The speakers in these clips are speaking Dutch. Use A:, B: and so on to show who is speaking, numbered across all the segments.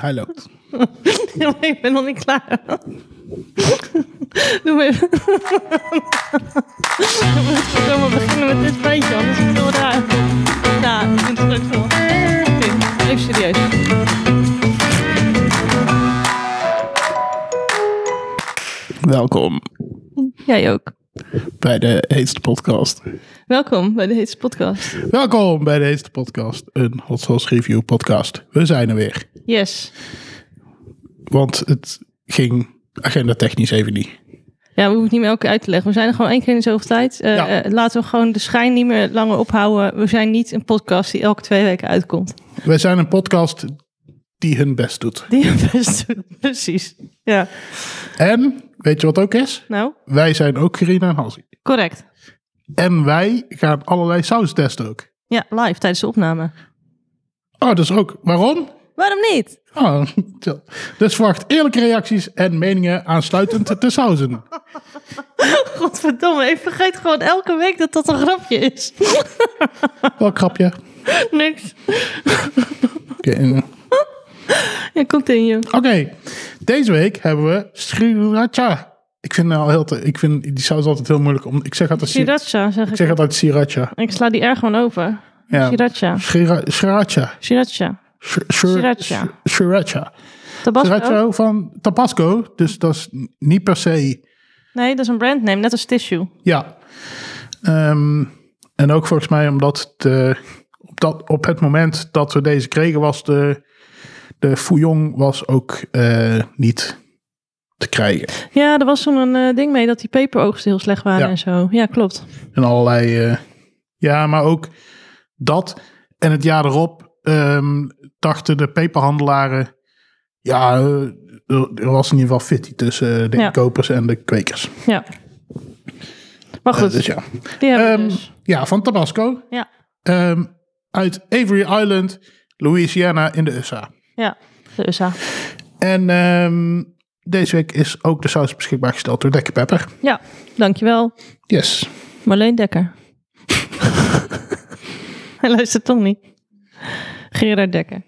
A: Hij loopt.
B: Ja, maar ik ben nog niet klaar. Doe maar even. We moeten zomaar beginnen met dit feitje, anders is het heel raar. Ja, ik vind het leuk zo. Oké, even serieus.
A: Welkom
B: Jij ook.
A: bij de Heetste Podcast.
B: Welkom bij de Heetse Podcast.
A: Welkom bij de Heetste Podcast, een Hot Sauce Review podcast. We zijn er weer,
B: Yes.
A: want het ging agenda technisch even niet.
B: Ja, we hoeven het niet meer elke keer uit te leggen. We zijn er gewoon één keer in de zoveel tijd. Eh,
A: Ja.
B: eh, laten we gewoon de schijn niet meer langer ophouden. We zijn niet een podcast die elke twee weken uitkomt.
A: Wij zijn een podcast die hun best doet.
B: Die het best doet. Precies. Ja.
A: En, weet je wat ook is?
B: Nou,
A: Wij zijn ook Carina en Hansi.
B: correct.
A: En wij gaan allerlei saus testen ook.
B: Ja, live tijdens de opname.
A: Oh, dus ook. Waarom?
B: Waarom niet?
A: Oh, zo. dus verwacht eerlijke reacties en meningen aansluitend de sauzen.
B: Godverdomme, ik vergeet gewoon elke week dat dat een grapje is.
A: Wel grapje.
B: Niks.
A: Oké, eh.
B: Ja, continue.
A: Oké, deze week hebben we sriracha. Ik vind, nou heel te- ik vind die saus altijd heel moeilijk om. Ik zeg altijd, si-
B: Sriracha, zeg
A: ik
B: ik.
A: zeg altijd sriracha.
B: Ik sla die R gewoon over.
A: Ja.
B: Sriracha.
A: Srira- Sriracha.
B: Sriracha.
A: Sri- sri-
B: Sriracha.
A: Sriracha.
B: Tabasco?
A: Sriracha van Tabasco. Dus dat is n- niet per se.
B: Nee, dat is een brandname, net als tissue.
A: Ja. Ehm, en ook volgens mij omdat het, eh, op, dat, op het moment dat we deze kregen was de, de Fouillon was ook eh, niet te krijgen.
B: Ja, er was zo'n eh, ding mee dat die peperoogsten heel slecht waren
A: Ja.
B: en zo. Ja, klopt.
A: En allerlei. eh, ja, maar ook dat. En het jaar erop ehm, dachten de peperhandelaren. Ja, eh, er- er was in ieder geval fitty tussen eh, de
B: Ja.
A: kopers en de kwekers.
B: Ja. Maar
A: Eh,
B: goed,
A: dus ja.
B: die hebben we
A: Ehm,
B: dus.
A: ja, van Tabasco.
B: Ja.
A: Ehm, uit Avery Island, Louisiana in de USA.
B: Ja, de USA.
A: En ehm, deze week is ook de saus beschikbaar gesteld door Dekker Pepper.
B: Ja, dankjewel.
A: Yes.
B: Marleen Dekker. Hij luistert toch niet. Gerard Dekker.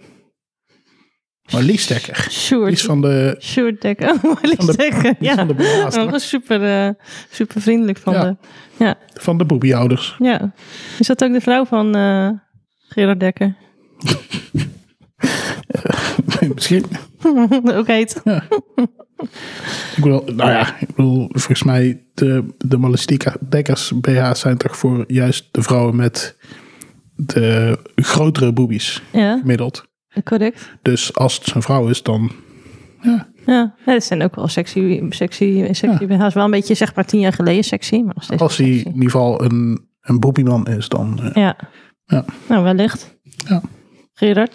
A: Maar Lies Dekker. Die is
B: Sjoerd.
A: van de,
B: Sjoerd Dekker. Oh,
A: Van de-
B: Marleen Dekker.
A: die is
B: Ja,
A: van de,
B: dat
A: blaas-
B: was super, eh, super vriendelijk van
A: Ja.
B: de... Ja,
A: van de boebiehouders.
B: ja. Is dat ook de vrouw van eh, Gerard Dekker?
A: Misschien.
B: ook heet.
A: Ik bedoel, nou ja, ik bedoel, volgens mij de, de Malistica dekkers BH's zijn toch voor juist de vrouwen met de grotere boobies
B: Ja,
A: gemiddeld.
B: correct.
A: Dus als het zijn vrouw is, dan
B: Ja, ja dat zijn ook wel sexy, sexy, sexy BH's. Wel een beetje, zeg maar, tien jaar geleden sexy, maar nog steeds
A: als hij in
B: sexy.
A: ieder geval een, een boobieman is, dan... eh,
B: Ja.
A: Ja.
B: Nou, wellicht.
A: Ja.
B: Gerard.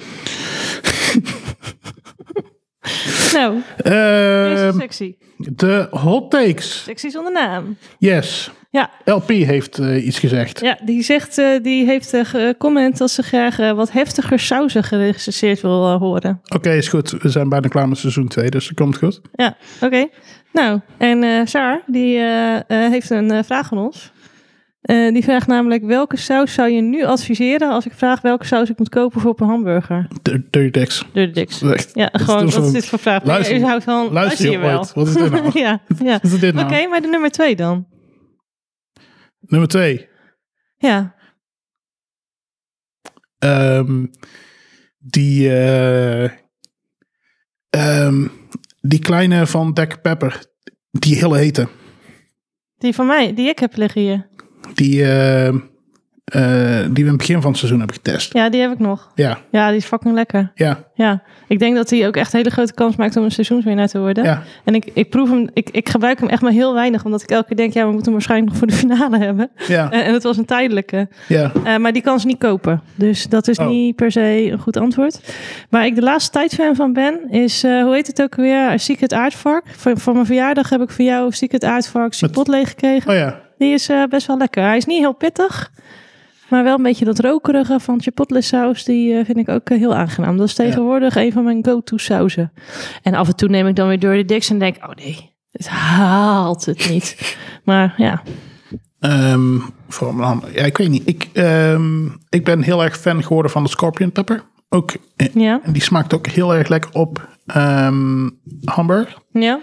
B: nou, deze
A: Ehm,
B: sexy.
A: de hot takes.
B: Sexy zonder naam.
A: Yes.
B: Ja.
A: LP heeft eh, iets gezegd.
B: Ja, die zegt, eh, die heeft eh, gecomment dat ze graag eh, wat heftiger sausen gerecenseerd wil eh, horen.
A: Oké, is goed. We zijn bijna klaar met seizoen 2, dus dat komt goed.
B: Ja, oké. Nou, en eh Saar, die eh, eh, heeft een eh, vraag aan ons. Eh, die vraagt namelijk, welke saus zou je nu adviseren als ik vraag welke saus ik moet kopen voor op een hamburger?
A: De Dirty Dex.
B: Door de diks.
A: Echt.
B: Ja, gewoon,
A: toch
B: wat is
A: zo'n-
B: dit voor vraag?
A: Luister-
B: je houdt van,
A: Luister je
B: wel.
A: ooit? Wat is dit nou? Wat
B: ja, ja.
A: is dit
B: Oké,
A: nou?
B: maar de nummer twee dan.
A: Nummer 2.
B: Ja,
A: Ehm, die, eh, ehm, die kleine van Dek Pepper. Die hele hete.
B: die van mij, die ik heb liggen hier.
A: Die, eh, eh, die we in het begin van het seizoen hebben getest.
B: Ja, die heb ik nog.
A: Ja,
B: Ja, die is fucking lekker.
A: ja,
B: Ja, ik denk dat hij ook echt hele grote kans maakt om een seizoenswinnaar te worden.
A: ja.
B: En ik, ik proef hem, ik, ik gebruik hem echt maar heel weinig, omdat ik elke keer denk, ja, we moeten hem waarschijnlijk nog voor de finale hebben.
A: Ja,
B: En, en het was een tijdelijke.
A: ja.
B: Eh, maar die kan ze niet kopen. Dus dat is
A: Oh.
B: niet per se een goed antwoord. Waar ik de laatste tijd fan van ben, is, eh, hoe heet het ook weer? Secret Aardvark. Voor, voor mijn verjaardag heb ik voor jou Secret Aardvark Chipotle gekregen.
A: Oh ja.
B: Die is eh, best wel lekker. Hij is niet heel pittig. Maar wel een beetje dat rokerige van chipotle saus, die eh, vind ik ook eh, heel aangenaam. Dat is tegenwoordig een van mijn go-to sauzen. En af en toe neem ik dan weer door de diks en denk, oh nee, het haalt het niet. Maar ja,
A: Ehm, voor mijn hand- ja, ik weet niet. Ik, ehm, ik ben heel erg fan geworden van de Scorpion Pepper. ook, eh,
B: Ja,
A: en die smaakt ook heel erg lekker op ehm hamburger.
B: ja.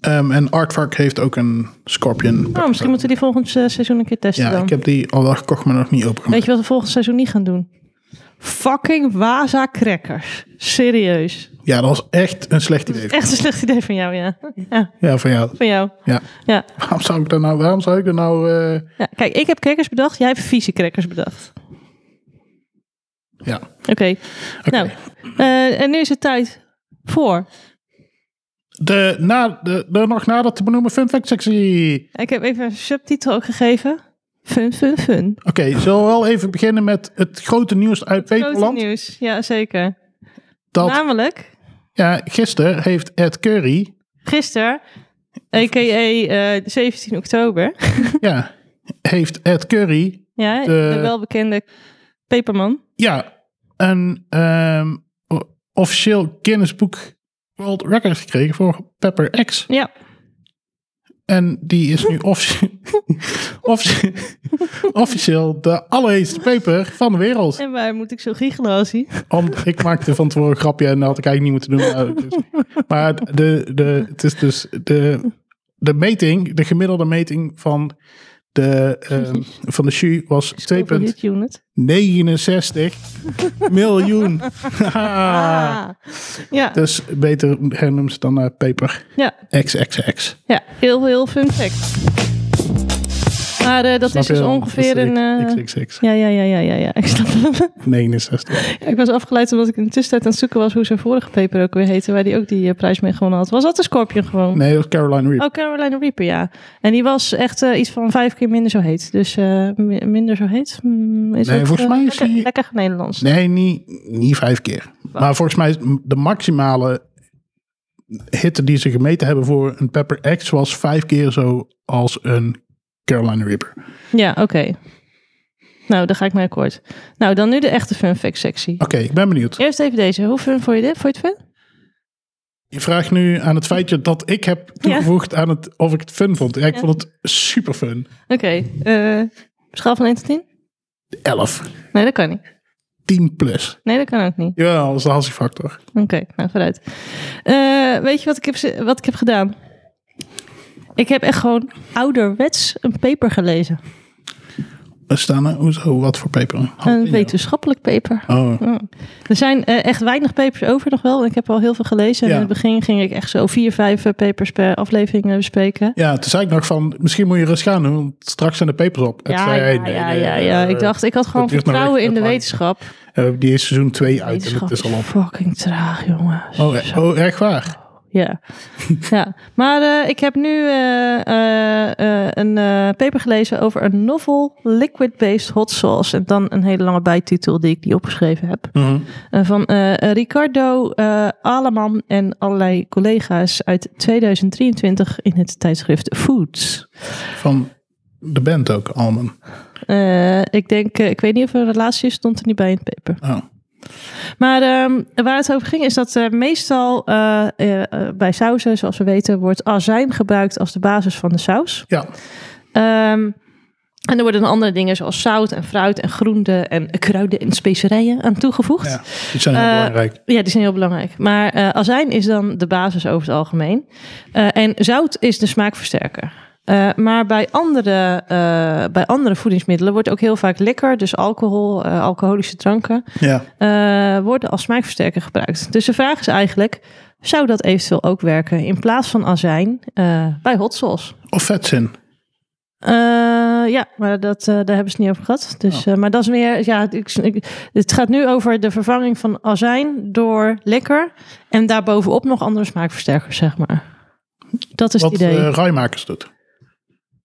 A: Ehm, en Artvark heeft ook een Scorpion.
B: Nou, misschien moeten we die volgend eh, seizoen een keer testen
A: ja,
B: dan.
A: ik heb die al wel gekocht, maar nog niet opengemaakt.
B: Weet je wat we volgend seizoen niet gaan doen? Fucking Waza crackers. Serieus.
A: Ja, dat was echt een slecht idee.
B: Echt een slecht idee van jou, ja. ja
A: Ja, van jou.
B: van jou.
A: Ja.
B: Ja.
A: Waarom zou ik dat nou... Waarom zou ik dat nou eh,
B: ja. Kijk, ik heb crackers bedacht. Jij hebt vieze crackers bedacht.
A: ja,
B: Oké.
A: oké.
B: Nou, eh, en nu is het tijd voor...
A: De, na, de, de nog nader te benoemen fun fact sectie.
B: Ik heb even een subtitel ook gegeven. Fun, fun, fun.
A: Oké, zullen we wel even beginnen met het grote nieuws uit
B: Grote
A: Nederland?
B: nieuws. Nou- Ja, zeker.
A: Dat
B: Namelijk,
A: ja, gisteren heeft Ed Curry,
B: gisteren, a.k.a. eh, 17 oktober...
A: ja, heeft Ed Curry,
B: Ja,
A: De-
B: de, welbekende Peperman.
A: ja, een ehm, o- officieel Guinness Book World Record gekregen voor Pepper X.
B: Ja,
A: En die is nu offici- offici- officieel de allerheetste peper van de wereld.
B: en waar moet ik zo giechelen als hij?
A: Om, ik maakte van tevoren een grapje en dat had ik eigenlijk niet moeten doen. Maar, dus- maar de, de, het is dus de, de meting, de gemiddelde meting van de, ehm, van de SHU was 2,69
B: Dit unit.
A: miljoen. Haha.
B: Ah. Ja,
A: dus beter hernoemt ze dan eh, naar paper
B: ja,
A: XXX.
B: ja, heel, heel fun fact. Maar eh, dat
A: Snap
B: is
A: je
B: dus
A: dan?
B: ongeveer
A: Dat is
B: een... eh,
A: XXX,
B: ja, ja, ja, ja, ja, ja, ik snap het.
A: 69.
B: Ja, ik was afgeleid omdat ik in de tussentijd aan het zoeken was hoe zijn vorige paper ook weer heette, waar die ook die eh, prijs mee gewonnen had. Was dat de Scorpion gewoon?
A: Nee, dat was Caroline Reap.
B: Oh, Carolina Reaper, ja. En die was echt eh, iets van vijf keer minder zo heet. Dus eh, mi- minder zo heet. Mm, is
A: Nee,
B: dat,
A: volgens
B: eh,
A: mij is
B: lekker,
A: die-
B: lekker Nederlands.
A: Nee, niet, niet vijf keer. Maar volgens mij is de maximale hitte die ze gemeten hebben voor een Pepper X was vijf keer zo als een Carolina Reaper. Oké,
B: Ja, oké. Nou, daar ga ik mee akkoord. Nou, dan nu de echte fun fact sectie.
A: ik ben benieuwd.
B: Eerst even deze. Hoe fun vond je dit? Vond je het fun?
A: Je vraagt nu aan het feitje dat ik heb toegevoegd aan het of ik het fun vond. Ja, ik
B: Ja.
A: vond het super fun.
B: Oké. eh schaal van 1 tot 10?
A: 11,
B: Nee, dat kan niet.
A: 10 plus.
B: Nee, dat kan ook niet.
A: Ja, dat is de Hansi-factor.
B: Oké, nou vooruit. Eh, weet je wat ik, heb, ze- wat ik heb gedaan? Ik heb echt gewoon ouderwets een paper gelezen.
A: Er staan er, hoezo, wat voor paper?
B: Een wetenschappelijk paper.
A: Oh,
B: Er zijn eh, echt weinig papers over nog wel. Ik heb al heel veel gelezen. En
A: Ja.
B: in het begin ging ik echt zo vier, vijf eh, papers per aflevering eh, bespreken.
A: ja, toen zei ik nog van, misschien moet je rust gaan doen, want straks zijn de papers op. Het
B: Ja,
A: zei,
B: ja,
A: hey,
B: ja,
A: nee,
B: ja,
A: nee,
B: ja,
A: eh,
B: Ik dacht, ik had gewoon
A: duurt nog
B: vertrouwen
A: even
B: in de
A: lang.
B: wetenschap.
A: Eh, die is seizoen 2 uit en
B: Wetenschap
A: het is
B: is
A: al op.
B: fucking traag, jongens.
A: Oh, e- oh, echt waar?
B: Ja. ja. Maar eh, ik heb nu eh, eh, eh, een eh, paper gelezen over een novel liquid-based hot sauce. En dan een hele lange bijtitel die ik die opgeschreven heb. Eh, van eh, Ricardo eh Aleman en allerlei collega's uit 2023 in het tijdschrift Foods.
A: Van de band ook, Alman.
B: Eh, ik denk, eh, ik weet niet of er een relatie is, stond er niet bij in het paper.
A: Oh.
B: Maar ehm, waar het over ging is dat eh, meestal eh, eh, eh, bij sauzen, zoals we weten, wordt azijn gebruikt als de basis van de saus.
A: Ja,
B: Ehm, en er worden dan andere dingen zoals zout en fruit en groenten en kruiden en specerijen aan toegevoegd.
A: ja, die zijn heel
B: Eh,
A: belangrijk.
B: Ja, die zijn heel belangrijk. Maar eh, azijn is dan de basis over het algemeen. Eh, en zout is de smaakversterker. Eh, maar bij andere, eh, bij andere voedingsmiddelen wordt ook heel vaak likker, dus alcohol, eh, alcoholische dranken,
A: Ja,
B: eh, worden als smaakversterker gebruikt. Dus de vraag is eigenlijk, zou dat eventueel ook werken in plaats van azijn eh, bij hot sauce?
A: of vetzin.
B: Eh, ja, maar dat, eh, daar hebben ze het niet over gehad. Dus,
A: Oh.
B: eh, maar dat is meer, ja, ik, ik- het gaat nu over de vervanging van azijn door likker. En daarbovenop nog andere smaakversterkers, zeg maar. Dat is
A: Wat
B: het idee.
A: eh Rijmakers doet.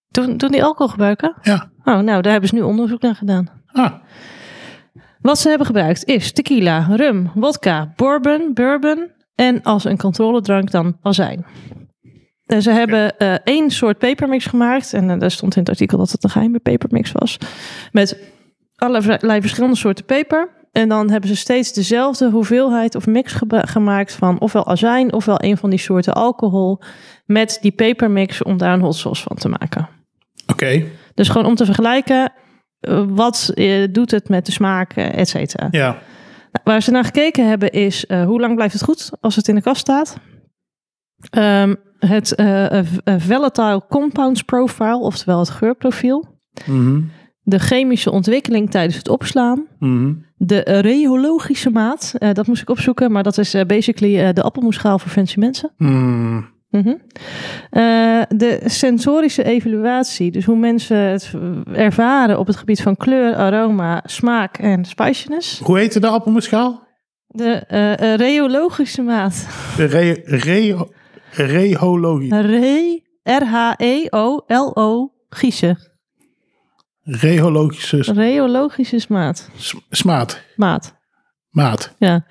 B: Doen, doen die alcohol gebruiken?
A: Ja.
B: Oh, nou, daar hebben ze nu onderzoek naar gedaan.
A: Ah,
B: Wat ze hebben gebruikt is tequila, rum, wodka, bourbon, bourbon en als een controledrank dan azijn. En ze hebben eh, één soort pepermix gemaakt. En eh, daar stond in het artikel dat het een geheime pepermix was. Met allerlei verschillende soorten peper. En dan hebben ze steeds dezelfde hoeveelheid of mix geba- gemaakt van ofwel azijn ofwel een van die soorten alcohol. Met die pepermix om daar een hot sauce van te maken.
A: oké.
B: Dus gewoon om te vergelijken, eh, wat eh, doet het met de smaak, eh, et cetera.
A: Ja,
B: Nou, waar ze naar gekeken hebben is eh, hoe lang blijft het goed als het in de kast staat. Ehm, het eh, eh, v- eh, volatile compounds profile, oftewel het geurprofiel.
A: Mhm.
B: De chemische ontwikkeling tijdens het opslaan.
A: Mhm.
B: De rheologische maat, eh, dat moest ik opzoeken, maar dat is eh, basically eh, de appelmoesschaal voor fancy mensen.
A: Mhm.
B: Mhm. Eh, de sensorische evaluatie, dus hoe mensen het ervaren op het gebied van kleur, aroma, smaak en spiciness.
A: Hoe heette de appelmoeschaal?
B: De eh eh, rheologische maat.
A: De re, re, rehologie.
B: Re, E R-H-E-O-L-O, Giese.
A: Rehologische s-
B: Rheologische maat.
A: s- smaat.
B: maat.
A: Maat.
B: Ja.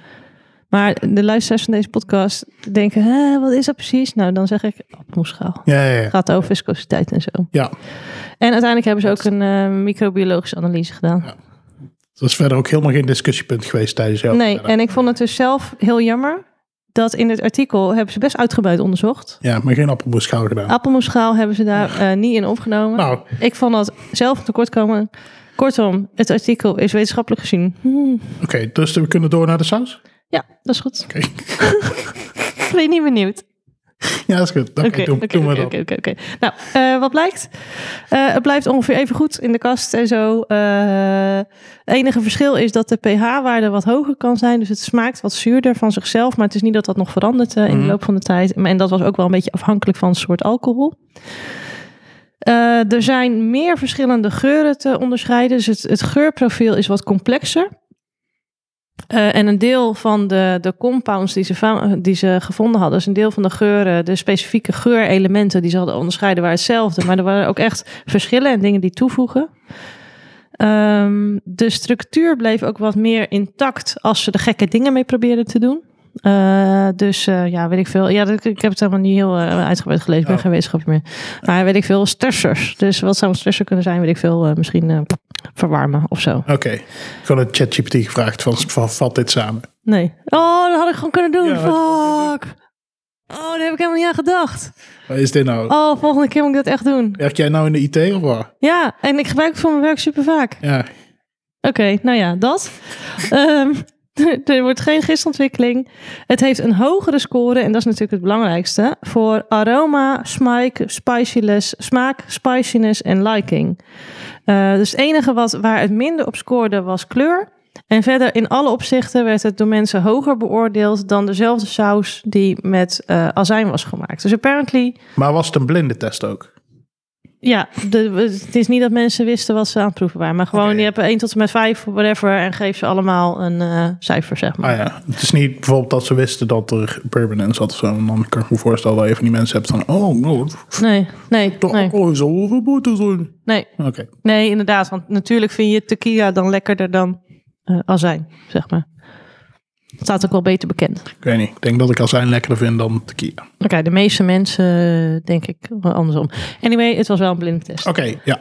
B: Maar de luisteraars van deze podcast denken, "Hè, wat is dat precies? Nou, dan zeg ik appelmoesschaal.
A: Ja, ja, ja.
B: Het gaat over viscositeit en zo.
A: ja.
B: En uiteindelijk hebben ze ook een eh, microbiologische analyse gedaan.
A: Dat is verder ook helemaal geen discussiepunt geweest tijdens jou.
B: Nee, en ik vond het dus zelf heel jammer dat in het artikel hebben ze best uitgebreid onderzocht.
A: Ja, maar geen appelmoeschaal gedaan.
B: Ah. Appelmoesschaal hebben ze daar eh, niet in opgenomen.
A: nou,
B: Ik vond dat zelf tekortkomen. Kortom, het artikel is wetenschappelijk gezien. Hmm.
A: oké. dus we kunnen door naar de saus?
B: Ja, dat is goed.
A: Oké.
B: Ben je niet benieuwd?
A: Ja, dat is goed. Oké,
B: Oké,
A: doen,
B: oké,
A: doen we
B: oké,
A: dat.
B: oké, oké, oké. Nou, eh, wat blijkt? Eh, het blijft ongeveer even goed in de kast en zo. Eh, Het enige verschil is dat de pH-waarde wat hoger kan zijn. Dus het smaakt wat zuurder van zichzelf. Maar het is niet dat dat nog verandert eh, in de
A: Mhm.
B: loop van de tijd. Maar- En dat was ook wel een beetje afhankelijk van het soort alcohol. Eh, er zijn meer verschillende geuren te onderscheiden. Dus het, het geurprofiel is wat complexer. Eh, en een deel van de, de compounds die ze, va- die ze gevonden hadden, dus een deel van de geuren, de specifieke geurelementen die ze hadden onderscheiden, waren hetzelfde. Maar er waren ook echt verschillen en dingen die toevoegen. Ehm, de structuur bleef ook wat meer intact als ze de gekke dingen mee probeerden te doen. Eh, dus eh, ja, weet ik veel. Ja, dat, ik heb het helemaal niet heel eh, uitgebreid gelezen. Ik ben
A: Oh.
B: geen wetenschapper meer. Maar weet ik veel, stressors. Dus wat zou een stressor kunnen zijn? Weet ik veel, eh, misschien eh, verwarmen of zo.
A: Oké, ik had een ChatGPT gevraagd van, van vat dit samen.
B: Nee. Oh, dat had ik gewoon kunnen doen.
A: Ja,
B: Fuck. Oh, daar heb ik helemaal niet aan gedacht.
A: Wat is dit nou?
B: Oh, volgende keer moet ik dat echt doen.
A: Werk jij nou in de IT of wat?
B: Ja, en ik gebruik het voor mijn werk super vaak.
A: Ja.
B: Oké, nou ja, dat. Ehm, er wordt geen gistontwikkeling. Het heeft een hogere score, en dat is natuurlijk het belangrijkste, voor aroma, smaak, spiciness, smaak, spiciness en liking. Eh, dus het enige wat, waar het minder op scoorde was kleur. En verder in alle opzichten werd het door mensen hoger beoordeeld dan dezelfde saus die met eh, azijn was gemaakt. Dus apparently,
A: Maar was het een blinde test ook?
B: ja, de, het is niet dat mensen wisten wat ze aan het proeven waren. Maar gewoon,
A: Oké.
B: je hebt 1 tot en met 5 of whatever en geef ze allemaal een eh, cijfer, zeg maar.
A: Ah ja, het is niet bijvoorbeeld dat ze wisten dat er bourbon in zat of zo. En dan kan ik me voorstellen dat je van die mensen hebt van... Oh, nou,
B: Nee, nee,
A: de
B: nee,
A: alcohol is al verboden zijn.
B: nee,
A: Oké,
B: nee, inderdaad. Want natuurlijk vind je tequila dan lekkerder dan eh, azijn, zeg maar. Het staat ook wel beter bekend.
A: ik weet niet. Ik denk dat ik azijn lekkerder vind dan tequila.
B: Oké, de meeste mensen eh, denk ik wel andersom. Anyway, het was wel een blindtest.
A: Oké, ja.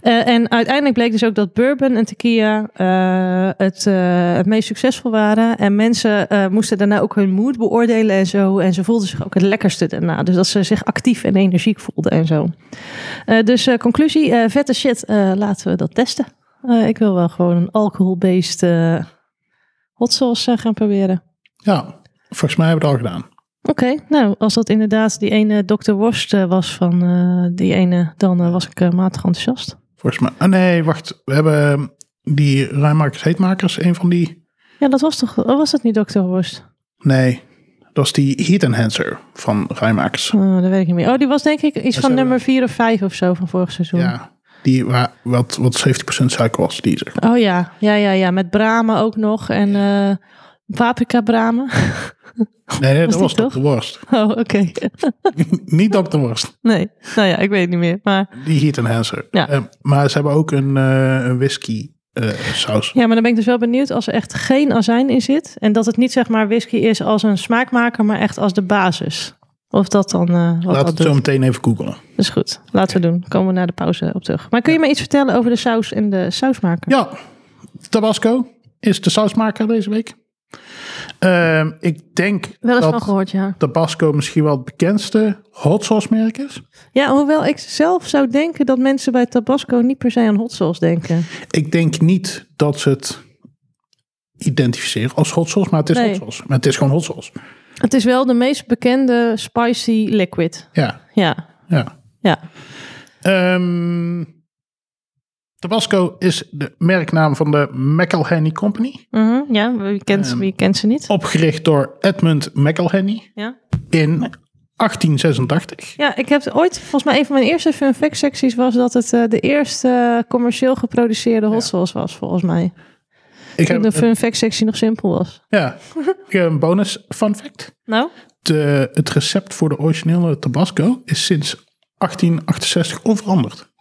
B: Eh, en uiteindelijk bleek dus ook dat bourbon en tequila eh, het, eh, het meest succesvol waren. En mensen eh, moesten daarna ook hun mood beoordelen en zo. En ze voelden zich ook het lekkerste daarna. Dus dat ze zich actief en energiek voelden en zo. Eh, dus eh, conclusie, eh, vette shit, eh, laten we dat testen. Eh, ik wil wel gewoon een alcohol-based eh, hot sauce eh, gaan proberen.
A: Ja, volgens mij hebben we het al gedaan.
B: Oké, nou, als dat inderdaad die ene Dr. Worst eh, was van eh, die ene, dan eh, was ik eh, matig enthousiast.
A: Volgens mij. Ah nee, wacht. We hebben ehm, die ruimmakers, heetmakers. Een van die...
B: Ja, dat was toch, oh, was dat niet Dr. Worst?
A: Nee, dat is die heat enhancer van ruimmakers.
B: Oh, dat weet ik niet meer. Oh, die was denk ik iets
A: ze
B: van
A: hebben-
B: nummer 4 of 5 of zo van vorig seizoen.
A: Ja, die waar, wat, wat 70% suiker was. Die, zeg.
B: Oh ja, ja, ja, ja. Met bramen ook nog. En eh paprika bramen.
A: Nee, nee,
B: Was
A: dat was
B: die
A: Dr. Worst.
B: Oh, oké.
A: Niet Dr. Worst.
B: Nee, nou ja, ik weet het niet meer. Maar,
A: Die heat enhancer.
B: Ja.
A: Eh, maar ze hebben ook een, eh, een whisky eh, saus.
B: ja, maar dan ben ik dus wel benieuwd als er echt geen azijn in zit. En dat het niet zeg maar whisky is als een smaakmaker, maar echt als de basis. Of dat dan eh wat
A: Laten we
B: dat
A: het zo
B: doet.
A: meteen even googelen.
B: Dat is goed. Laten we doen. Komen we na de pauze op terug. Maar kun je me iets vertellen over de saus en de sausmaker?
A: Ja, Tabasco is de sausmaker deze week. Ehm, ik denk
B: Wel eens
A: dat
B: van gehoord, ja.
A: Tabasco misschien wel het bekendste hot sauce merk is.
B: Ja, hoewel ik zelf zou denken dat mensen bij Tabasco niet per se aan hot sauce denken.
A: Ik denk niet dat ze het identificeren als hot sauce, maar het is
B: Nee.
A: hot sauce. Maar het is gewoon hot sauce.
B: Het is wel de meest bekende spicy liquid.
A: Ja,
B: Ja,
A: ja.
B: ja.
A: Ehm, Tabasco is de merknaam van de McElhenney Company.
B: Mhm, ja wie, kent,
A: Ehm.
B: wie kent ze niet?
A: Opgericht door Edmund McElhenney
B: Ja.
A: in 1886.
B: Ja, ik heb ooit, volgens mij een van mijn eerste fun fact secties was dat het eh, de eerste eh, commercieel geproduceerde hot
A: Ja.
B: sauce was, volgens mij.
A: Ik
B: Toen
A: heb,
B: de fun fact sectie nog simpel was.
A: ja, ik heb een bonus fun fact.
B: Nou?
A: De, het recept voor de originele Tabasco is sinds 1868 onveranderd.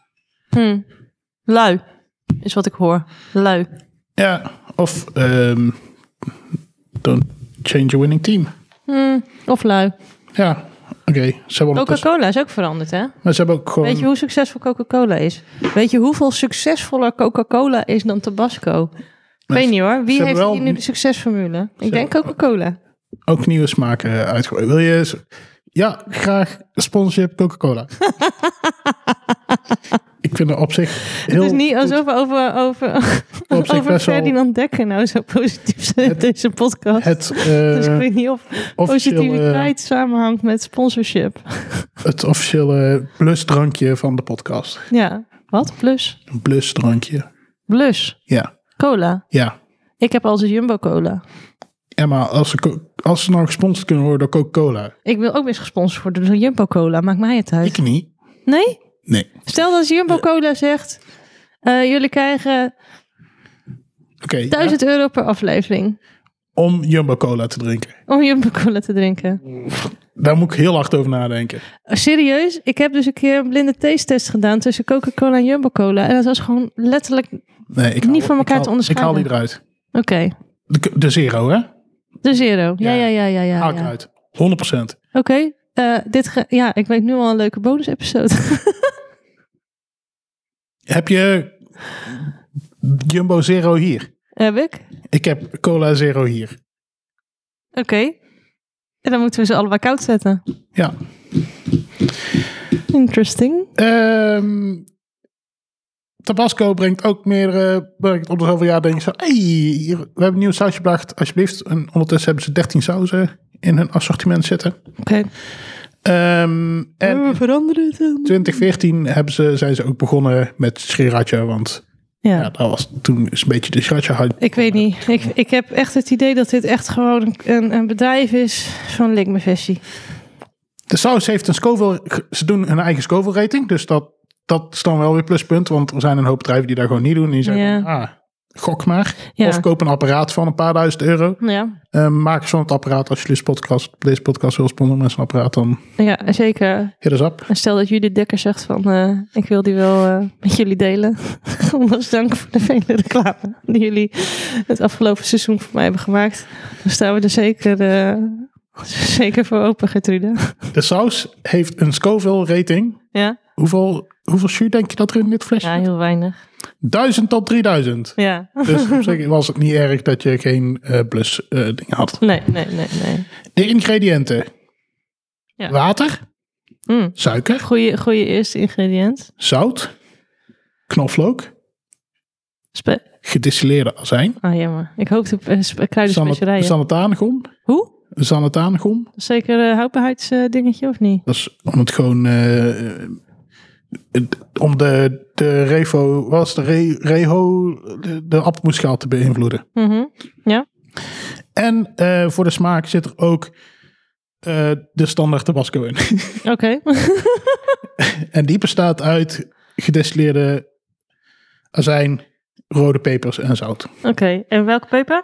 B: Hm. Lui, is wat ik hoor. Lui.
A: Ja, of ehm, don't change your winning team.
B: Hm, Of lui.
A: Ja, oké. Ze hebben ondertussen-
B: Coca-Cola is ook veranderd, hè?
A: maar ze hebben ook gewoon...
B: Weet je hoe succesvol Coca-Cola is? Weet je hoeveel succesvoller Coca-Cola is dan Tabasco? Ik weet niet hoor. Wie
A: hebben
B: heeft
A: wel-
B: hier nu de succesformule? Ik denk
A: hebben-
B: Coca-Cola.
A: ook nieuwe smaken uitgooien. Wil je... eens- Ja, graag sponsorship Coca-Cola. ik vind er op zich heel...
B: Het is niet alsof we over, over,
A: zich
B: over
A: best wel-
B: Ferdinand Dekker nou zo positief zijn in
A: Het-
B: deze podcast.
A: het, eh,
B: dus ik weet niet of
A: officiële, eh,
B: positiviteit samenhangt met sponsorship.
A: het officiële blusdrankje van de podcast.
B: Ja. Wat? Plus?
A: Een blusdrankje.
B: Plus.
A: Ja,
B: Cola.
A: ja.
B: Ik heb altijd Jumbo Cola.
A: Ja, maar als ze, co- als ze nou gesponsord kunnen worden door Coca-Cola.
B: Ik wil ook weer gesponsord worden door Jumbo Cola. Maakt mij het uit.
A: Ik niet.
B: Nee?
A: Nee.
B: Stel dat Jumbo Cola zegt: eh, jullie krijgen
A: Oké, ja,
B: 1000 euro per aflevering
A: om Jumbo-Cola te drinken.
B: om Jumbo Cola te drinken.
A: Daar moet ik heel hard over nadenken.
B: Serieus, ik heb dus een keer een blinde taste-test gedaan tussen Coca-Cola en Jumbo Cola. En dat was gewoon letterlijk. Oké,
A: Nee, ik
B: Niet
A: haal-
B: van elkaar
A: ik haal-
B: te onderscheiden.
A: Ik haal die eruit. De, de zero, hè?
B: de zero. Ja, ja,
A: Ja.
B: ja, ja. ja,
A: Haal ik
B: ja.
A: eruit. 100%.
B: Oké, eh, dit ge- ja, ik weet nu al een leuke bonus-episode.
A: Heb je Jumbo Zero hier?
B: heb ik.
A: Ik heb Cola Zero hier.
B: Oké. En dan moeten we ze allebei koud zetten.
A: Ja.
B: Interesting.
A: Ehm, Tabasco brengt ook meerdere... Brengt om de zoveel jaar denk je zo... Hey, hier, we hebben een nieuw sausje gebracht, alsjeblieft. En ondertussen hebben ze 13 sauzen in hun assortiment zitten.
B: Oké.
A: Ehm, en
B: we
A: in
B: veranderen het dan.
A: 2014 hebben ze, zijn ze ook begonnen met Sriracha, want...
B: Ja.
A: Ja, dat was toen eens een beetje de Sriracha-hype.
B: Ik weet niet. Ik, ik heb echt het idee dat dit echt gewoon een, een bedrijf is van Lik me Vessie.
A: De saus heeft een Scoville. Ze doen hun eigen Scoville rating. Dus dat, dat is dan wel weer pluspunt. Want er zijn een hoop bedrijven die daar gewoon niet doen. En die zeggen,
B: Ja.
A: van, ah, gok maar.
B: Ja.
A: Of koop een apparaat van een paar duizend euro.
B: Ja,
A: Eh, maak eens van het apparaat. Als jullie podcast, deze podcast wil sponsoren met zo'n apparaat, dan
B: ja, zeker.
A: hit us up.
B: En stel dat jullie Dekker zegt van, eh, ik wil die wel eh, met jullie delen. Ondanks dank voor de vele reclame die jullie het afgelopen seizoen voor mij hebben gemaakt. Dan staan we er zeker, eh, zeker voor open, Gertrude.
A: De saus heeft een Scoville rating.
B: Ja?
A: Hoeveel, hoeveel jus denk je dat er in dit flesje?
B: ja, heel weinig.
A: Duizend tot 3000.
B: Ja.
A: Dus op zich was het niet erg dat je geen eh plus eh, ding had.
B: Nee, nee, nee, nee.
A: De ingrediënten.
B: Ja.
A: Water,
B: Mm.
A: suiker,
B: Goeie, goeie eerste ingrediënt.
A: zout, knoflook,
B: Spe-
A: gedistilleerde azijn,
B: oh, jammer. Ik hoopte op eh, spe-
A: zanne-
B: kruidenspecerijen.
A: zannataangom,
B: Hoe?
A: zannataangom.
B: Dat is Zeker een houdbaarheidsdingetje of niet?
A: Dat is om het gewoon, eh, eh, om de, de revo, was de re, reho, de, de appelmoesschaal te beïnvloeden.
B: Mhm. Ja.
A: En eh, voor de smaak zit er ook eh, de standaard tabasco in.
B: Oké.
A: en die bestaat uit gedistilleerde azijn, rode pepers en zout.
B: Oké. En welke peper?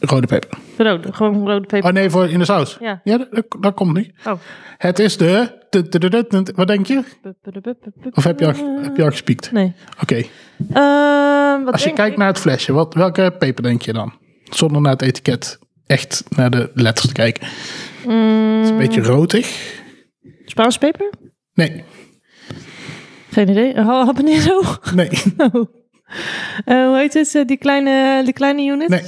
A: Rode peper.
B: Rode. Gewoon rode peper.
A: Oh nee, voor in de saus.
B: Ja.
A: dat, dat- dat komt niet.
B: Oh.
A: Het is de... de- de- de- de- de- Wat denk je? Of heb je
B: Eh.
A: al, heb je al gespiekt?
B: Nee.
A: Oké.
B: Ehm, wat
A: Als je
B: denk
A: kijkt
B: ik?
A: naar het flesje, wat, welke peper denk je dan? Zonder naar het etiket echt naar de letters te kijken.
B: Eh.
A: Het is een
B: Mm,
A: beetje rotig.
B: Spaanse peper?
A: Nee,
B: Geen idee. Oh, habanero.
A: nee,
B: Oh. Eh, hoe heet het? Eh, die, kleine, die kleine unit?
A: nee.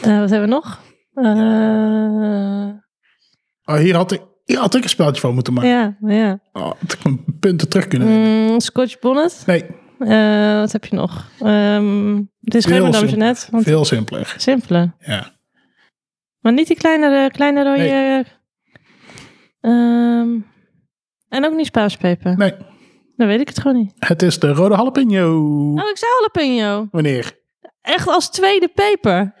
B: Eh, wat hebben we nog? Eh,
A: Oh, hier, had ik, hier had ik een spelletje van moeten maken.
B: ja, Eh. ja.
A: Oh, had ik mijn punten terug kunnen.
B: Mm, Scotch bonnet?
A: Nee,
B: Eh, wat heb je nog? Ehm het is
A: Heel
B: geen madame
A: simpel.
B: Jeannette. Want
A: Veel simpeler.
B: simpele.
A: Ja.
B: Maar niet die kleinere, kleine rode... ehm, en ook niet spaaspeper.
A: Nee,
B: Dan weet ik het gewoon niet.
A: het is de rode jalapeno.
B: Oh, ik zei jalapeno.
A: Wanneer?
B: Echt als tweede peper.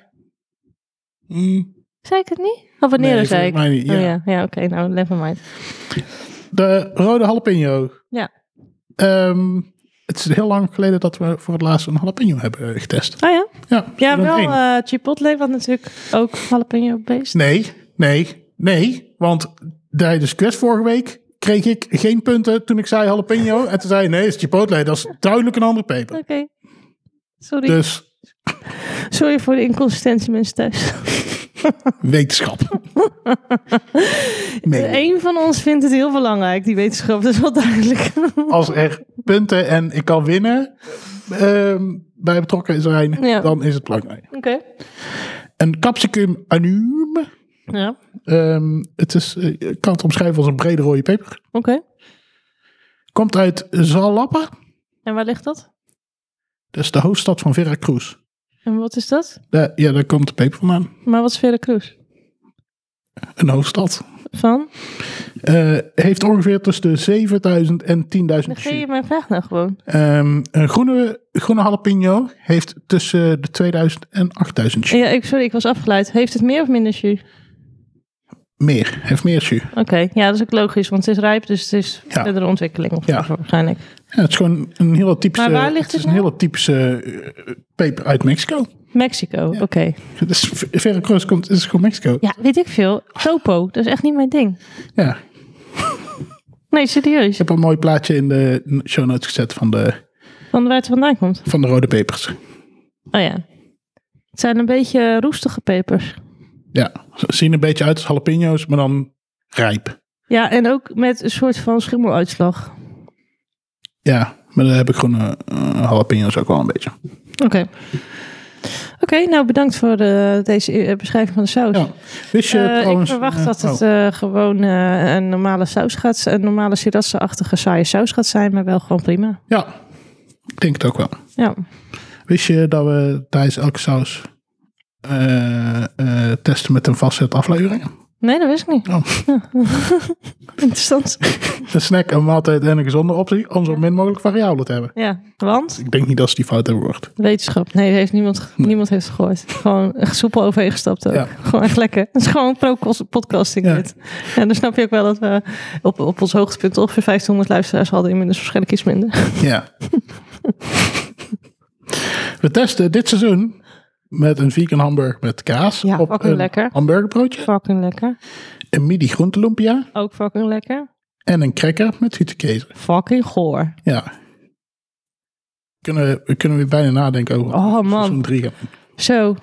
A: Mm,
B: Zei ik het niet? Of wanneer
A: nee,
B: zei ik?
A: volgens mij niet,
B: Oh
A: ja.
B: ja, ja oké. nou, never mind.
A: De rode jalapeno.
B: Ja.
A: Ehm, het is heel lang geleden dat we voor het laatst een jalapeno hebben eh, getest.
B: Oh ja?
A: Ja,
B: Ja,
A: seizoen
B: wel
A: één.
B: eh Chipotle, wat natuurlijk ook jalapeno beest.
A: Nee, nee, nee. Want tijdens quest vorige week kreeg ik geen punten toen ik zei jalapeno. En toen zei je, nee, het is chipotle. Dat is duidelijk een andere peper.
B: Oké. Sorry.
A: Dus
B: Sorry voor de inconsistentie, mensen thuis.
A: wetenschap. Nee.
B: Eén van ons vindt het heel belangrijk, die wetenschap. Dat is wel duidelijk.
A: Als er punten en ik kan winnen ehm, bij betrokken zijn,
B: Ja.
A: dan is het belangrijk.
B: Oké.
A: Een capsicum annuum.
B: Ja. Oké.
A: ehm, het is, eh, ik kan het omschrijven als een brede rode peper. Komt uit Zalapa.
B: En waar ligt dat?
A: Dat is de hoofdstad van Veracruz.
B: En wat is dat?
A: Da- ja, daar komt de peper vandaan.
B: Maar wat is Veracruz?
A: Een hoofdstad.
B: Van?
A: Eh, heeft ongeveer tussen de 7000 en 10.000
B: Negeer je
A: jus.
B: mijn vraag nou gewoon.
A: Ehm, een groene, groene jalapeno heeft tussen de 2000 en 8000 jus.
B: Ja, ik, sorry, ik was afgeleid. Heeft het meer of minder jus?
A: Meer, heeft meer jus.
B: Oké, ja, dat is ook logisch, want het is rijp, dus het is
A: Ja.
B: verdere ontwikkeling of
A: Ja.
B: zo waarschijnlijk.
A: Ja, het is gewoon een hele typische,
B: Maar waar ligt
A: is
B: het
A: een
B: nou?
A: hele typische eh, peper uit Mexico.
B: Mexico, oké.
A: Het is- Veracruz komt, is gewoon Mexico.
B: Ja, weet ik veel. Topo, dat is echt niet mijn ding.
A: Ja, ik
B: Nee, serieus.
A: heb een mooi plaatje in de show notes gezet van de,
B: Van waar het vandaan komt.
A: van de rode pepers.
B: Oh ja. Het zijn een beetje eh, roestige pepers.
A: Ja, ze zien een beetje uit als jalapeno's, maar dan rijp.
B: Ja, en ook met een soort van schimmeluitslag.
A: Ja, maar daar heb ik groene eh, jalapeno's ook wel een beetje.
B: Oké. Oké, nou bedankt voor eh, deze eh, beschrijving van de saus.
A: Ja. Wist je
B: Eh, ik
A: trouwens-
B: verwacht
A: eh,
B: dat het
A: oh.
B: eh, gewoon eh, een normale saus gaat Een normale sriracha-achtige saaie saus gaat zijn, maar wel gewoon prima.
A: Ja, ik denk het ook wel.
B: Ja.
A: Wist je dat we tijdens elke saus eh, eh, testen met een vast set afleveringen?
B: Nee, dat wist ik niet.
A: Oh.
B: Interessant.
A: Een snack, een maaltijd en een gezonde optie om zo min mogelijk variabelen te hebben.
B: Ja, want
A: Ik denk niet dat ze die fout hebben gehoord.
B: wetenschap. Nee, heeft niemand, niemand heeft het gehoord. Gewoon echt soepel overheen gestapt ook.
A: Ja.
B: Gewoon echt lekker. Het is gewoon pro-podcasting
A: Ja.
B: dit. En dan snap je ook wel dat we op, op ons hoogtepunt ongeveer 1500 luisteraars hadden. Inmiddels waarschijnlijk iets minder.
A: Ja. we testen dit seizoen met een vegan hamburger met kaas
B: Ja,
A: op
B: fucking
A: een
B: lekker.
A: hamburgerbroodje,
B: Fucking lekker.
A: een midi groentelumpia
B: Ook fucking lekker.
A: en een cracker met zietekezen.
B: Fucking goor.
A: Ja. Kunnen we, we kunnen weer bijna nadenken over
B: Oh,
A: wat we
B: man.
A: seizoen drie gaan doen.
B: Zo.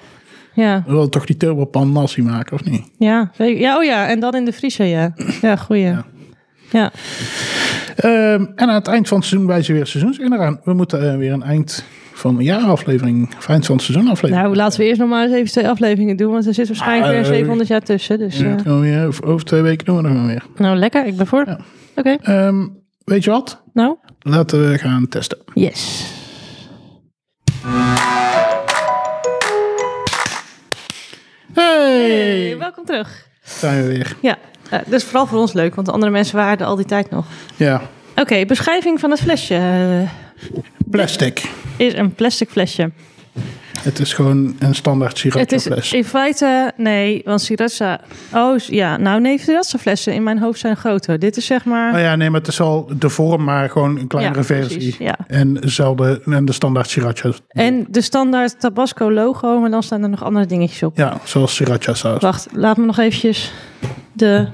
B: Ja,
A: We willen toch die turbopan nasi maken, of niet?
B: ja. weet ik- Ja, oh ja. En dan in de vriezer, ja. Ja, goeie. Ja. Ja.
A: Ehm, en aan het eind van het seizoen wijzen we weer seizoenswinnaar aan. We moeten eh, weer een eind van een jaaraflevering, of eind van het seizoen aflevering.
B: Nou, laten we eerst nog maar eens even twee afleveringen doen. Want er zit waarschijnlijk weer
A: Ah, eh,
B: 700 jaar tussen. Dus,
A: Ja,
B: eh,
A: dat gaan we weer over, over twee weken doen we dat gewoon weer.
B: Nou, lekker. Ik ben voor.
A: Ja.
B: Oké.
A: Ehm, weet je wat?
B: Nou.
A: Laten we gaan testen.
B: Yes.
A: Hey,
B: Hey, welkom terug.
A: zijn we weer.
B: Ja, eh, dat is vooral voor ons leuk, want de andere mensen waren er al die tijd nog.
A: Ja,
B: Oké, beschrijving van het flesje. eh,
A: plastic.
B: is een plastic flesje.
A: Het is gewoon een standaard
B: Het is
A: sirupfles.
B: in feite, nee, want Sriracha... Oh, s- ja, nou nee, Sriracha flessen in mijn hoofd zijn groter. Dit is zeg maar...
A: Nou ja, nee, maar het is al de vorm, maar gewoon een kleinere
B: Ja,
A: versie.
B: precies, ja.
A: En, dezelfde, en de standaard sriracha.
B: En de standaard Tabasco logo, maar dan staan er nog andere dingetjes op.
A: Ja, zoals sriracha saus.
B: Wacht, laat me nog eventjes de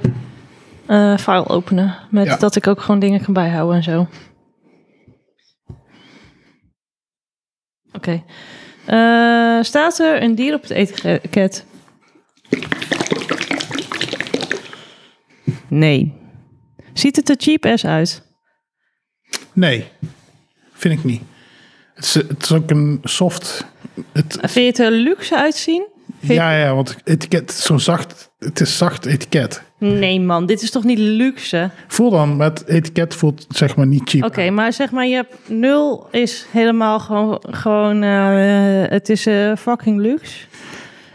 B: eh, file openen. Met
A: Ja.
B: dat ik ook gewoon dingen kan bijhouden en zo. Oké. Eh, staat er een dier op het etiket? Nee. Ziet het er cheap ass uit?
A: Nee, vind ik niet. Het is, het is ook een soft... Het,
B: Vind je het er luxe uitzien? Vind-
A: ja, ja, want etiket, zo'n zacht... Het is zacht etiket.
B: Nee man, dit is toch niet luxe?
A: Voel dan, maar het etiket voelt zeg maar niet cheap.
B: Oké, maar zeg maar, je hebt nul is helemaal gewoon, gewoon eh, eh, het is eh, fucking luxe.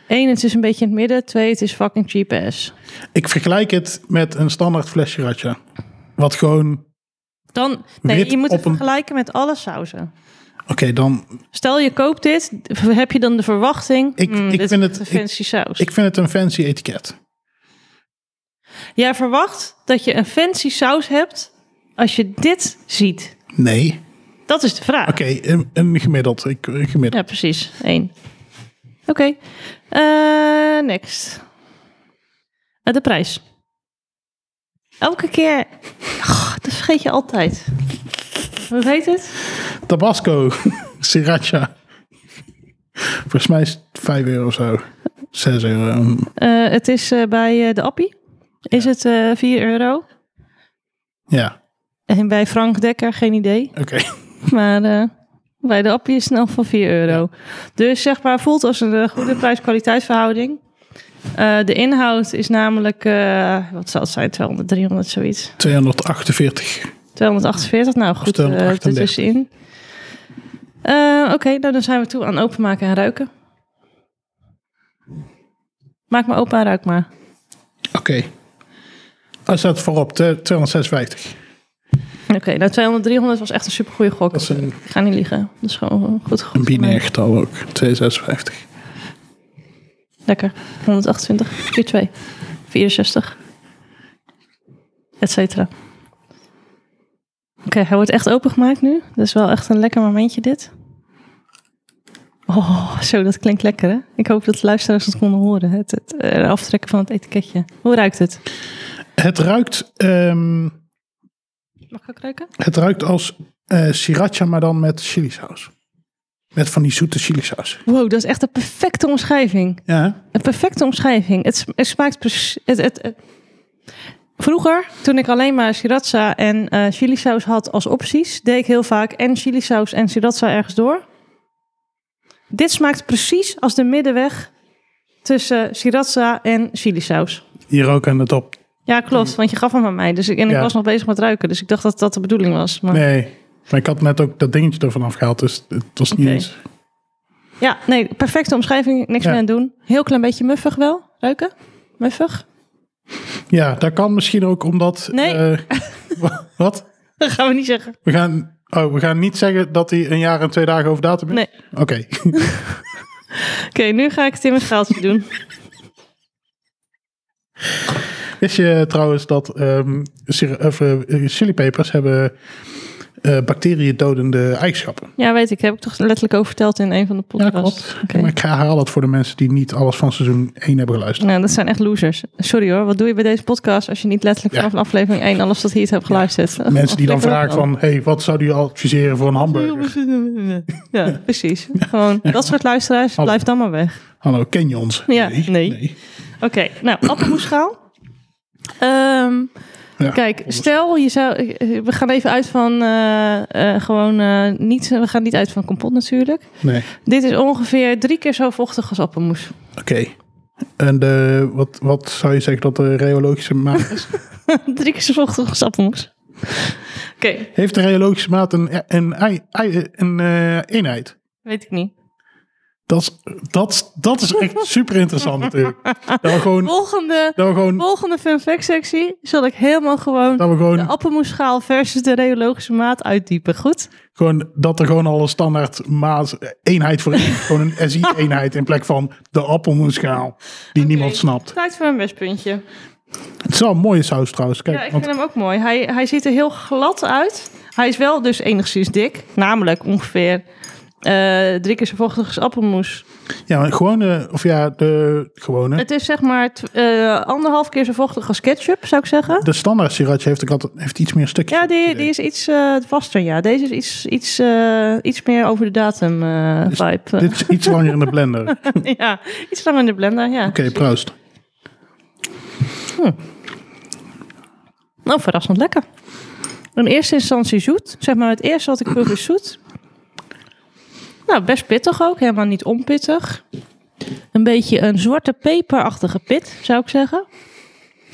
B: Eén, het is een beetje in het midden. Twee, het is fucking cheap ass.
A: Ik vergelijk het met een standaard flesje ratje. Wat gewoon,
B: Dan, nee,
A: Wit
B: je moet het
A: op een-
B: vergelijken met alle sauzen.
A: oké, dan
B: Stel je koopt dit, heb je dan de verwachting?
A: Ik-
B: "Hmm,
A: ik
B: dit
A: vind
B: is
A: het-
B: een
A: ik-
B: fancy saus.
A: Ik vind het een fancy etiket.
B: Jij verwacht dat je een fancy saus hebt als je dit ziet.
A: Nee. Oké,
B: Dat is de vraag.
A: een, een gemiddeld. Ik, een gemiddeld.
B: Ja, precies. Eén. Oké. Eh, next. Eh, de prijs. Elke keer. Goh, dat vergeet je altijd. Hoe heet het?
A: Tabasco, sriracha. Volgens mij is het 5 euro of zo. 6 euro.
B: Eh, het is eh, bij eh, de Appie. Is het eh 4 euro?
A: Ja,
B: En bij Frank Dekker, geen idee.
A: oké.
B: Maar eh, bij de appie is snel van 4 euro. Dus zeg maar, voelt als een eh, goede prijs-kwaliteitsverhouding. Eh, de inhoud is namelijk, eh, wat zal het zijn, 200, 300, zoiets.
A: 248.
B: 248, nou goed, eh,
A: 238.
B: ertussenin. Eh, Oké, nou dan zijn we toe aan openmaken en ruiken. Maak maar open en ruik maar.
A: Oké. Hij staat voorop, te- 256.
B: Oké, nou 200, 300 was echt een supergoeie gok.
A: Dat is een,
B: Ik ga niet liegen, dat is gewoon een goed
A: een
B: goed.
A: binair getal ook. 256.
B: Lekker. 128, 42, 64, et cetera. Oké, hij wordt echt opengemaakt nu. Dat is wel echt een lekker momentje dit. Oh, zo, dat klinkt lekker hè? Ik hoop dat de luisteraars het konden horen. Het, het eh, aftrekken van het etiketje. Hoe ruikt het?
A: Het ruikt, ehm,
B: Mag ik ook ruiken?
A: het ruikt als eh, sriracha, maar dan met chilisaus. Met van die zoete chilisaus.
B: Wow, dat is echt een perfecte omschrijving.
A: Ja, hè?
B: Een perfecte omschrijving. Het, sm- het smaakt precies. Het, het, het- Vroeger, toen ik alleen maar sriracha en eh chilisaus had als opties, deed ik heel vaak en chilisaus en sriracha ergens door. Dit smaakt precies als de middenweg tussen sriracha en chilisaus.
A: hier ook aan de top.
B: Ja, klopt, want je gaf hem aan mij. Dus ik, en ik
A: Mhm. Ja.
B: was nog bezig met ruiken, dus ik dacht dat dat de bedoeling was. Maar...
A: Nee, maar ik had net ook dat dingetje ervan afgehaald, dus het was niet
B: Oké.
A: eens.
B: Ja, nee, perfecte omschrijving, niks
A: Ja.
B: meer aan doen. Heel klein beetje muffig wel, ruiken? Muffig?
A: Ja, dat kan misschien ook omdat...
B: Nee.
A: eh, wa- wat?
B: Dat gaan we niet zeggen.
A: We gaan, oh, we gaan niet zeggen dat hij een jaar en twee dagen over datum is?
B: Nee.
A: Oké.
B: Oké, nu ga ik het in mijn schaaltje doen.
A: Wist je trouwens dat ehm sir- of, eh, chilipepers hebben eh bacteriëndodende eigenschappen?
B: Ja, weet ik. Heb ik toch letterlijk over verteld in een van de podcasts. Oké.
A: Maar ik herhaal dat voor de mensen die niet alles van seizoen 1 hebben geluisterd.
B: Nou, dat zijn echt losers. Sorry hoor, wat doe je bij deze podcast als je niet letterlijk
A: Ja.
B: vanaf aflevering 1 alles wat hier het hebt geluisterd?
A: Mensen die dan
B: Flikker op,
A: vragen van, hey, wat zou je adviseren voor een hamburger?
B: man. Ja, precies. Gewoon dat soort luisteraars,
A: Hallo.
B: blijf dan maar weg.
A: Hallo, ken je ons?
B: Ja, nee. Oké, nou, appelmoesschaal. Ehm,
A: Ja,
B: Kijk,
A: anders.
B: stel je zou. eh, We gaan even uit van. eh, eh, gewoon eh, niet. We gaan niet uit van kompot natuurlijk.
A: Nee,
B: Dit is ongeveer drie keer zo vochtig als appelmoes.
A: oké. En de, wat, wat zou je zeggen dat de reologische maat is?
B: Drie keer zo vochtig als appelmoes. Oké,
A: Heeft de reologische maat een, een, ei- ei- een eh, eenheid?
B: weet ik niet.
A: Dat is, dat, is- dat is echt super interessant natuurlijk. Dat we gewoon,
B: Volgende,
A: dat we gewoon
B: volgende fun fact sectie zal ik helemaal gewoon
A: Dat we
B: de
A: gewoon,
B: appelmoesschaal versus de reologische maat uitdiepen. Goed?
A: gewoon dat er gewoon al een standaard maat eenheid voor is. gewoon een SI-eenheid in plek van de appelmoesschaal. Die niemand snapt.
B: Tijd voor een bestpuntje.
A: Het is wel een mooie saus trouwens. Kijk,
B: Ja, ik
A: want
B: vind hem ook mooi. Hij, hij ziet er heel glad uit. Hij is wel dus enigszins dik. Namelijk ongeveer eh, drie keer zo vochtig als appelmoes.
A: ja, maar gewone, of ja, de gewone.
B: Het is zeg maar tw- eh, anderhalf keer zo vochtig als ketchup, zou ik zeggen.
A: de standaard sriracha heeft, ook altijd, heeft iets meer stukjes.
B: Ja, die, die is iets eh, vaster. Ja, deze is iets, iets, eh, iets meer over de datum eh,
A: Dus
B: vibe.
A: Dit is iets langer in de blender. Oké,
B: ja, iets langer in de blender. Ja.
A: proost.
B: Nou, verrassend lekker. In eerste instantie zoet. Zeg maar, het eerste wat ik proef is zoet. Nou, best pittig ook. Helemaal niet onpittig. Een beetje een zwarte peperachtige pit, zou ik zeggen.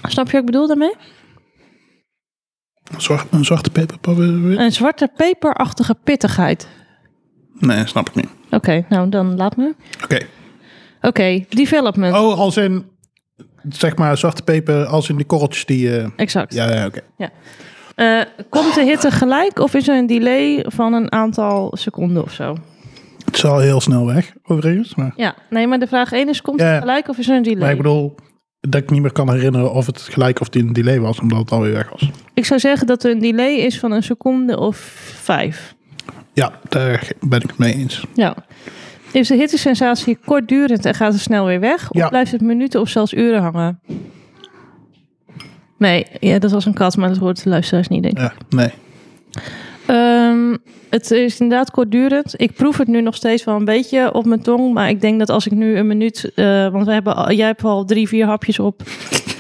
B: Snap je wat ik bedoel daarmee?
A: Een, zwart, een zwarte eh, peperpap?
B: Een zwarte peperachtige pittigheid.
A: Nee, snap ik niet.
B: Oké, nou dan laat me.
A: Oké.
B: Oké, development.
A: Oh, als in, zeg maar, zwarte peper als in de korreltjes die... eh,
B: Exact.
A: ja, ja, oké.
B: Eh, komt de hitte gelijk of is er een delay van een aantal seconden of zo?
A: Het is al heel snel weg, overigens. Maar,
B: Ja, nee, maar de vraag 1 is: komt
A: Ja,
B: het
A: ja.
B: gelijk of is er een delay?
A: maar ik
B: ik,
A: bedoel, dat ik niet meer kan herinneren of het gelijk of die een delay was, omdat het alweer weg was.
B: zou zeggen dat er een delay is van een seconde of vijf.
A: Ja, daar ben ik het mee eens.
B: Ja. Is de hittesensatie kortdurend en gaat het snel weer weg?
A: Ja.
B: Of blijft het minuten of zelfs uren hangen? Nee, ja, dat was een kat, maar dat hoort de luisteraars niet, denk ik.
A: Ja, nee.
B: Ehm, het is inderdaad kortdurend. Ik proef het nu nog steeds wel een beetje op mijn tong. Maar ik denk dat als ik nu een minuut. eh, want we hebben, al- jij hebt al drie, vier hapjes op.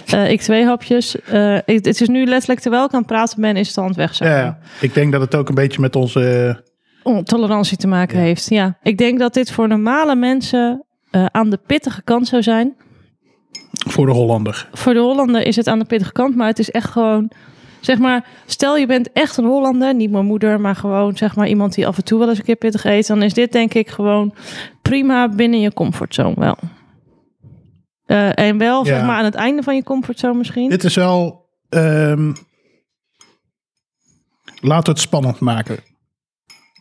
B: Eh, ik twee hapjes. Eh, ik- het is nu letterlijk terwijl ik aan het praten ben, is het al aan het wegzakken.
A: Ja, ja. ik denk dat het ook een beetje met onze... eh,
B: Om tolerantie te maken
A: Ja.
B: heeft. Ja, ik denk dat dit voor normale mensen eh, aan de pittige kant zou zijn.
A: voor de Hollander.
B: Voor de Hollander is het aan de pittige kant, maar het is echt gewoon. Zeg maar, stel je bent echt een Hollander, niet mijn moeder, maar gewoon zeg maar iemand die af en toe wel eens een keer pittig eet, dan is dit denk ik gewoon prima binnen je comfortzone wel. Eh, en wel
A: Ja.
B: zeg maar aan het einde van je comfortzone misschien.
A: Dit is wel... ehm, laten we het spannend maken,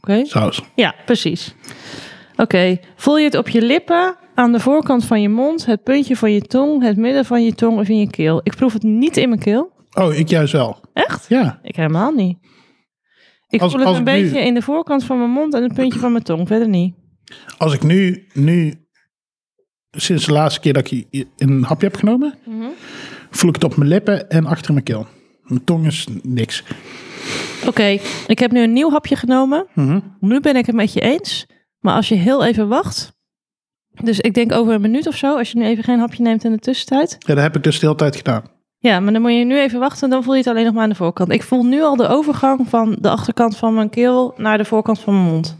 B: Oké.
A: saus.
B: Ja, precies. Oké, voel je het op je lippen, aan de voorkant van je mond, het puntje van je tong, het midden van je tong of in je keel? Ik proef het niet in mijn keel.
A: Oh, ik juist wel.
B: Echt?
A: Ja,
B: Ik helemaal niet. Ik
A: Als-
B: voel het
A: als
B: een
A: ik nu-
B: beetje in de voorkant van mijn mond en het puntje van mijn tong. Verder niet.
A: als ik nu, nu sinds de laatste keer dat ik i- een hapje heb genomen,
B: Mhm.
A: voel ik het op mijn lippen en achter mijn keel. Mijn tong is niks.
B: Oké, ik heb nu een nieuw hapje genomen.
A: Mhm.
B: Nu ben ik het met je eens. Maar als je heel even wacht. Dus ik denk over een minuut of zo. Als je nu even geen hapje neemt in de tussentijd.
A: Ja, dat heb ik dus de hele tijd gedaan.
B: Ja, maar dan moet je nu even wachten. Dan voel je het alleen nog maar aan de voorkant. Ik voel nu al de overgang van de achterkant van mijn keel naar de voorkant van mijn mond.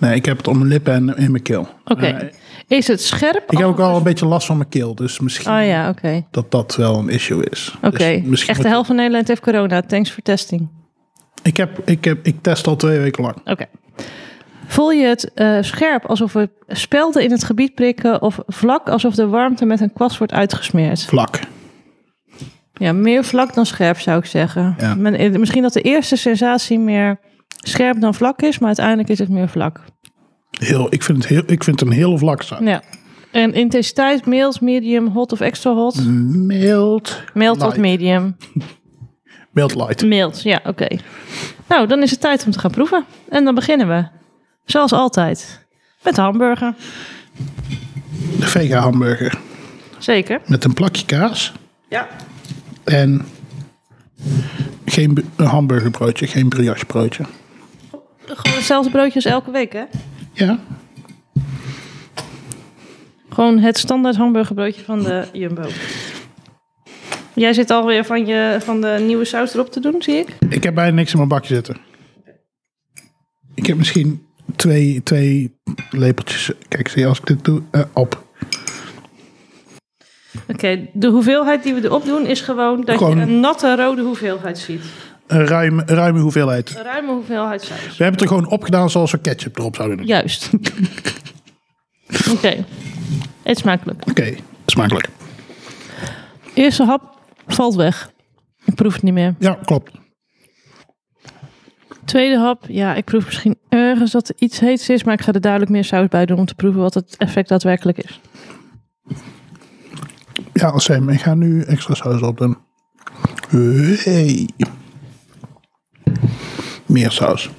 A: Nee, ik heb het op mijn lippen en in mijn keel.
B: Oké.
A: Eh,
B: Is het scherp?
A: ik heb ook al een beetje last van mijn keel, dus misschien
B: Oh ja, oké.
A: dat dat wel een issue is.
B: Oké.
A: Dus misschien
B: Echt de
A: moet-
B: helft van Nederland heeft corona. Thanks voor testing.
A: Ik, heb, ik, heb, ik test al twee weken lang.
B: Oké. Voel je het eh, scherp alsof er spelden in het gebied prikken of vlak alsof de warmte met een kwast wordt uitgesmeerd?
A: Vlak.
B: Ja, meer vlak dan scherp zou ik zeggen.
A: Ja.
B: Men- eh, misschien dat de eerste sensatie meer scherp dan vlak is, maar uiteindelijk is het meer vlak.
A: Heel, ik, vind het heel, ik vind het een heel vlak zaak.
B: Ja. En intensiteit mild, medium, hot of extra hot?
A: Mild.
B: Mild tot
A: Mm, light.
B: medium.
A: Mild light.
B: Mild, ja, oké. Nou, dan is het tijd om te gaan proeven. En dan beginnen we, zoals altijd, met de hamburger.
A: De vega hamburger.
B: Zeker.
A: Met een plakje kaas.
B: Ja.
A: En geen bu- een hamburgerbroodje, geen briochebroodje.
B: Gewoon hetzelfde broodje als elke week, hè?
A: Ja,
B: Gewoon het standaard hamburgerbroodje van de Jumbo. Jij zit alweer van, je, van de nieuwe saus erop te doen, zie ik.
A: ik heb bijna niks in mijn bakje zitten. Ik heb misschien twee, twee lepeltjes. Kijk, zie je, als ik dit doe, eh, op.
B: Oké, de hoeveelheid die we erop doen is gewoon dat
A: Gewoon-
B: je een natte rode hoeveelheid ziet.
A: Een ruim, een ruime hoeveelheid.
B: Een ruime hoeveelheid saus.
A: We hebben het er gewoon opgedaan zoals we ketchup erop zouden doen.
B: Juist. Oké, het smakelijk.
A: Oké, smakelijk.
B: Eerste hap valt weg. Ik proef het niet meer.
A: Ja, klopt.
B: Tweede hap, ja, ik proef misschien ergens dat er iets heets is, maar ik ga er duidelijk meer saus bij doen om te proeven wat het effect daadwerkelijk is.
A: Ja, als Sam, ik ga nu extra saus op doen. Hey. Meer saus.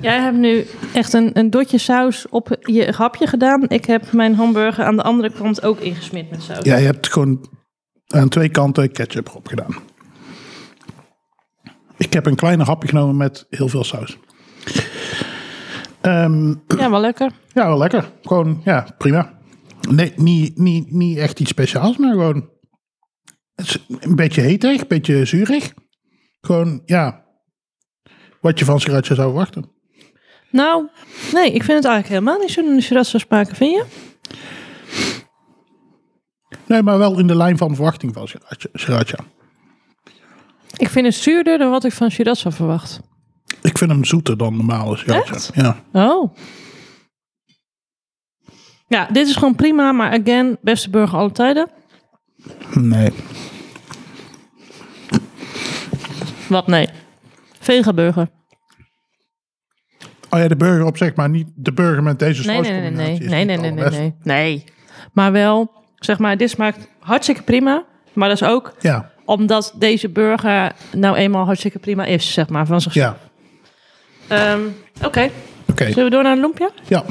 B: Jij hebt nu echt een, een dotje saus op je hapje gedaan. Ik heb mijn hamburger aan de andere kant ook ingesmeerd met saus.
A: Ja, je hebt gewoon aan twee kanten ketchup erop gedaan. Ik heb een kleiner hapje genomen met heel veel saus. Ehm,
B: Ja, wel lekker.
A: ja, wel lekker. Gewoon, ja, prima. Nee, niet, niet, niet echt iets speciaals, maar gewoon... Het is een beetje heterig, een beetje zuurig. Gewoon, ja... Wat je van sriracha zou verwachten.
B: Nou, nee, ik vind het eigenlijk helemaal niet zo'n sriracha smaken, vind je?
A: Nee, maar wel in de lijn van verwachting van sriracha- sriracha.
B: Ik vind het zuurder dan wat ik van Shiraz had verwacht.
A: Ik vind hem zoeter dan normale sriracha.
B: Echt?
A: Ja.
B: Oh. Ja, dit is gewoon prima, maar again, beste burger alle tijden.
A: Nee.
B: Wat nee. Vegaburger.
A: Oh ja, de burger op zich, maar niet de burger met deze
B: Nee, nee, nee, nee.
A: sauscombinatie is
B: Nee, nee,
A: niet
B: nee, nee,
A: allerbest.
B: nee. Nee. Maar wel, zeg maar, dit smaakt hartstikke prima. Maar dat is ook
A: Ja,
B: omdat deze burger nou eenmaal hartstikke prima is, zeg maar, van zichzelf.
A: ja.
B: Ehm, Oké,
A: Oké,
B: zullen we door naar een loempje?
A: ja.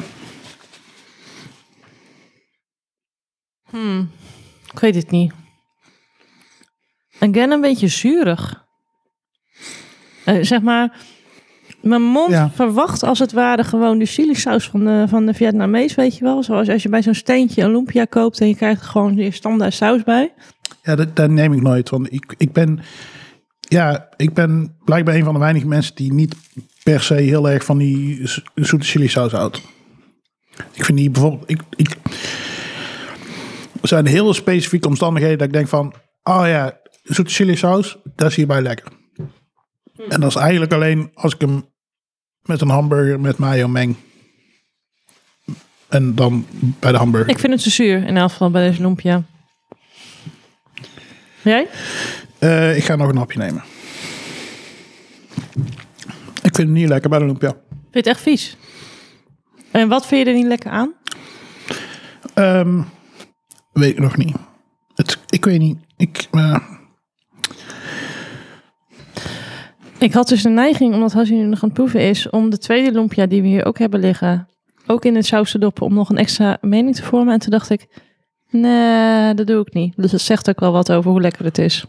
B: Ik weet het niet. Again, een beetje zuurig. Eh, zeg maar, mijn mond
A: Ja.
B: verwacht als het ware gewoon de chilisaus van de, van de Vietnamees, weet je wel. Zoals als je bij zo'n steentje een lumpia koopt en je krijgt er gewoon je standaard saus bij.
A: Ja, dat, dat neem ik nooit. Want ik, ik ben... Ja, ik ben blijkbaar een van de weinige mensen die niet per se heel erg van die zo- zoete chili saus houdt. Ik vind die bijvoorbeeld... Ik, ik, er zijn hele specifieke omstandigheden dat ik denk van... Oh ja, zoete chili saus, dat is hierbij lekker. En dat is eigenlijk alleen als ik hem met een hamburger met mayo meng. En dan bij de hamburger.
B: Ik vind het te zuur, in elk geval bij deze lumpia. Jij?
A: Eh, ik ga nog een hapje nemen. Ik vind het niet lekker bij de lumpia.
B: Vind je het echt vies? En wat vind je er niet lekker aan?
A: Ehm, weet ik nog niet. Het, ik weet niet. Ik, eh,
B: Ik had dus de neiging, omdat Hassie nu nog aan het proeven is, om de tweede lumpia die we hier ook hebben liggen, ook in het saus te doppen, om nog een extra mening te vormen. En toen dacht ik, nee, dat doe ik niet. Dus dat zegt ook wel wat over hoe lekker het is.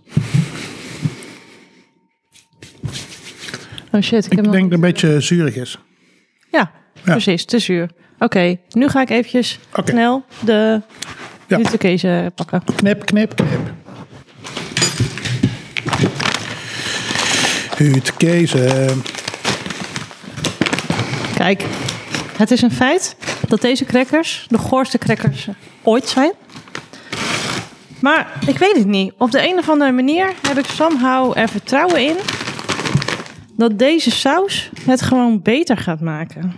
B: Oh shit, ik,
A: ik denk
B: heb nog...
A: dat het een beetje zuurig is.
B: Ja, precies, te zuur. Oké, nu ga ik eventjes
A: Oké.
B: snel de
A: Ja.
B: Buttercase eh, pakken.
A: Knip, knip, knip. Huut, Kees. eh,
B: Kijk, het is een feit dat deze crackers de goorste crackers ooit zijn. Maar ik weet het niet. Op de een of andere manier heb ik somehow er vertrouwen in dat deze saus het gewoon beter gaat maken.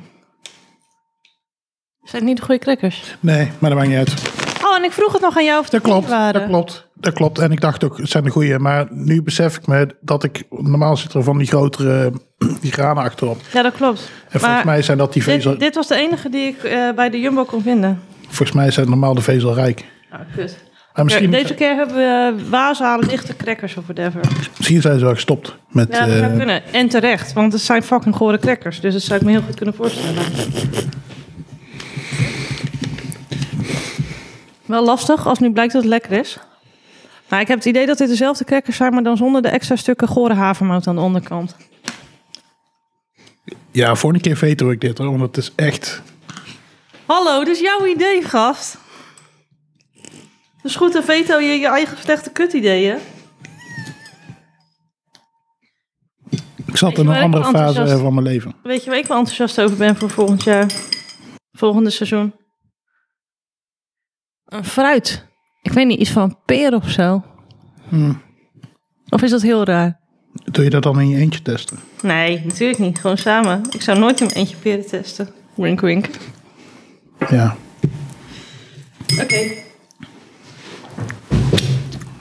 B: Zijn het niet de goede crackers?
A: nee, maar dat maakt niet uit.
B: Oh, en ik vroeg het nog aan jou of
A: Dat klopt,
B: waren.
A: dat klopt. Dat klopt. En ik dacht ook, het zijn de goeie. Maar nu besef ik me dat ik... Normaal zit er van die grotere... Die granen achterop.
B: Ja, dat klopt.
A: En volgens mij zijn dat die vezel...
B: dit, dit was de enige die ik eh, bij de Jumbo kon vinden.
A: Volgens mij zijn normaal de vezelrijk.
B: Ah, kut.
A: Maar misschien,
B: Deze keer hebben we eh, wazalen, lichte crackers of whatever.
A: misschien zijn ze wel gestopt met.
B: Ja, dat
A: eh,
B: zou kunnen. En terecht, want het zijn fucking gore crackers. Dus dat zou ik me heel goed kunnen voorstellen. Wel lastig, als nu blijkt dat het lekker is. Maar ik heb het idee dat dit dezelfde crackers zijn, maar dan zonder de extra stukken gore havermout aan de onderkant.
A: ja, vorige keer veto ik dit hoor, want het is echt.
B: Hallo, dus jouw idee, gast. Dus goed, dan veto je je eigen slechte kutideeën.
A: Ik zat
B: je
A: in
B: waar
A: een
B: ik
A: andere
B: wel
A: fase
B: enthousiast-
A: van mijn leven.
B: Weet je waar ik wel enthousiast over ben voor volgend jaar? Volgende seizoen? Een fruit. Ik weet niet, iets van een peer of zo.
A: Hmm.
B: Of is dat heel raar?
A: Doe je dat dan in je eentje testen?
B: Nee, natuurlijk niet. Gewoon samen. Ik zou nooit in mijn eentje peren testen. Wink, wink. Oké.
A: Ja.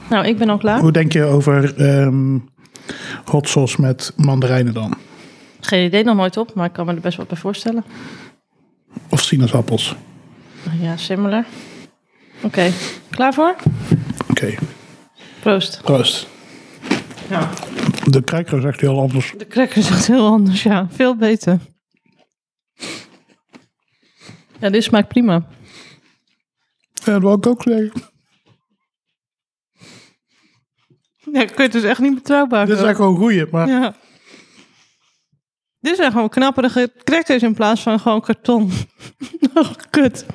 B: Nou, ik ben al klaar.
A: Hoe denk je over ehm, hot sauce met mandarijnen dan?
B: Geen idee, nog nooit op, maar ik kan me er best wat bij voorstellen.
A: Of sinaasappels?
B: Ja, similar. Oké, klaar voor?
A: Oké,
B: Proost.
A: proost.
B: Ja.
A: De cracker is echt heel anders.
B: De cracker is echt heel anders, ja. Veel beter. Ja, dit smaakt prima.
A: Ja, dat wil ik ook zeggen.
B: Ja, kut, het is echt niet betrouwbaar.
A: Dit is echt wel een goeie, maar
B: Ja. Dit zijn gewoon knapperige crackers in plaats van gewoon karton. oh, kut.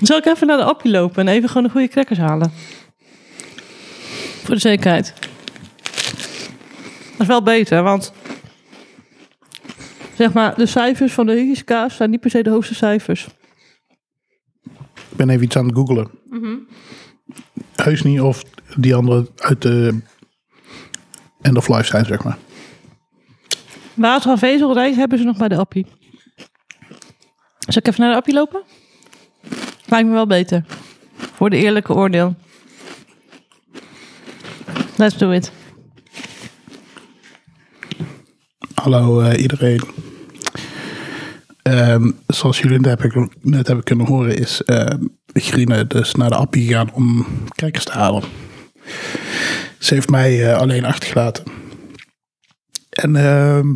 B: Zal ik even naar de appie lopen en even gewoon de goede crackers halen? Voor de zekerheid. Dat is wel beter, want... Zeg maar, de cijfers van de Huggies-kaas zijn niet per se de hoogste cijfers. Mhm.
A: ik ben even iets aan het googelen. heus niet of die andere uit de end of life zijn, zeg maar.
B: Water van Vezelrijk hebben ze nog bij de appie. Zal ik even naar de appie lopen? Lijkt me wel beter. Voor de eerlijke oordeel. Let's do it.
A: Hallo eh, iedereen. Ehm, zoals jullie net hebben, net hebben kunnen horen is ehm Grine dus naar de appie gegaan om kijkers te halen. Ze heeft mij eh, alleen achtergelaten. En ehm,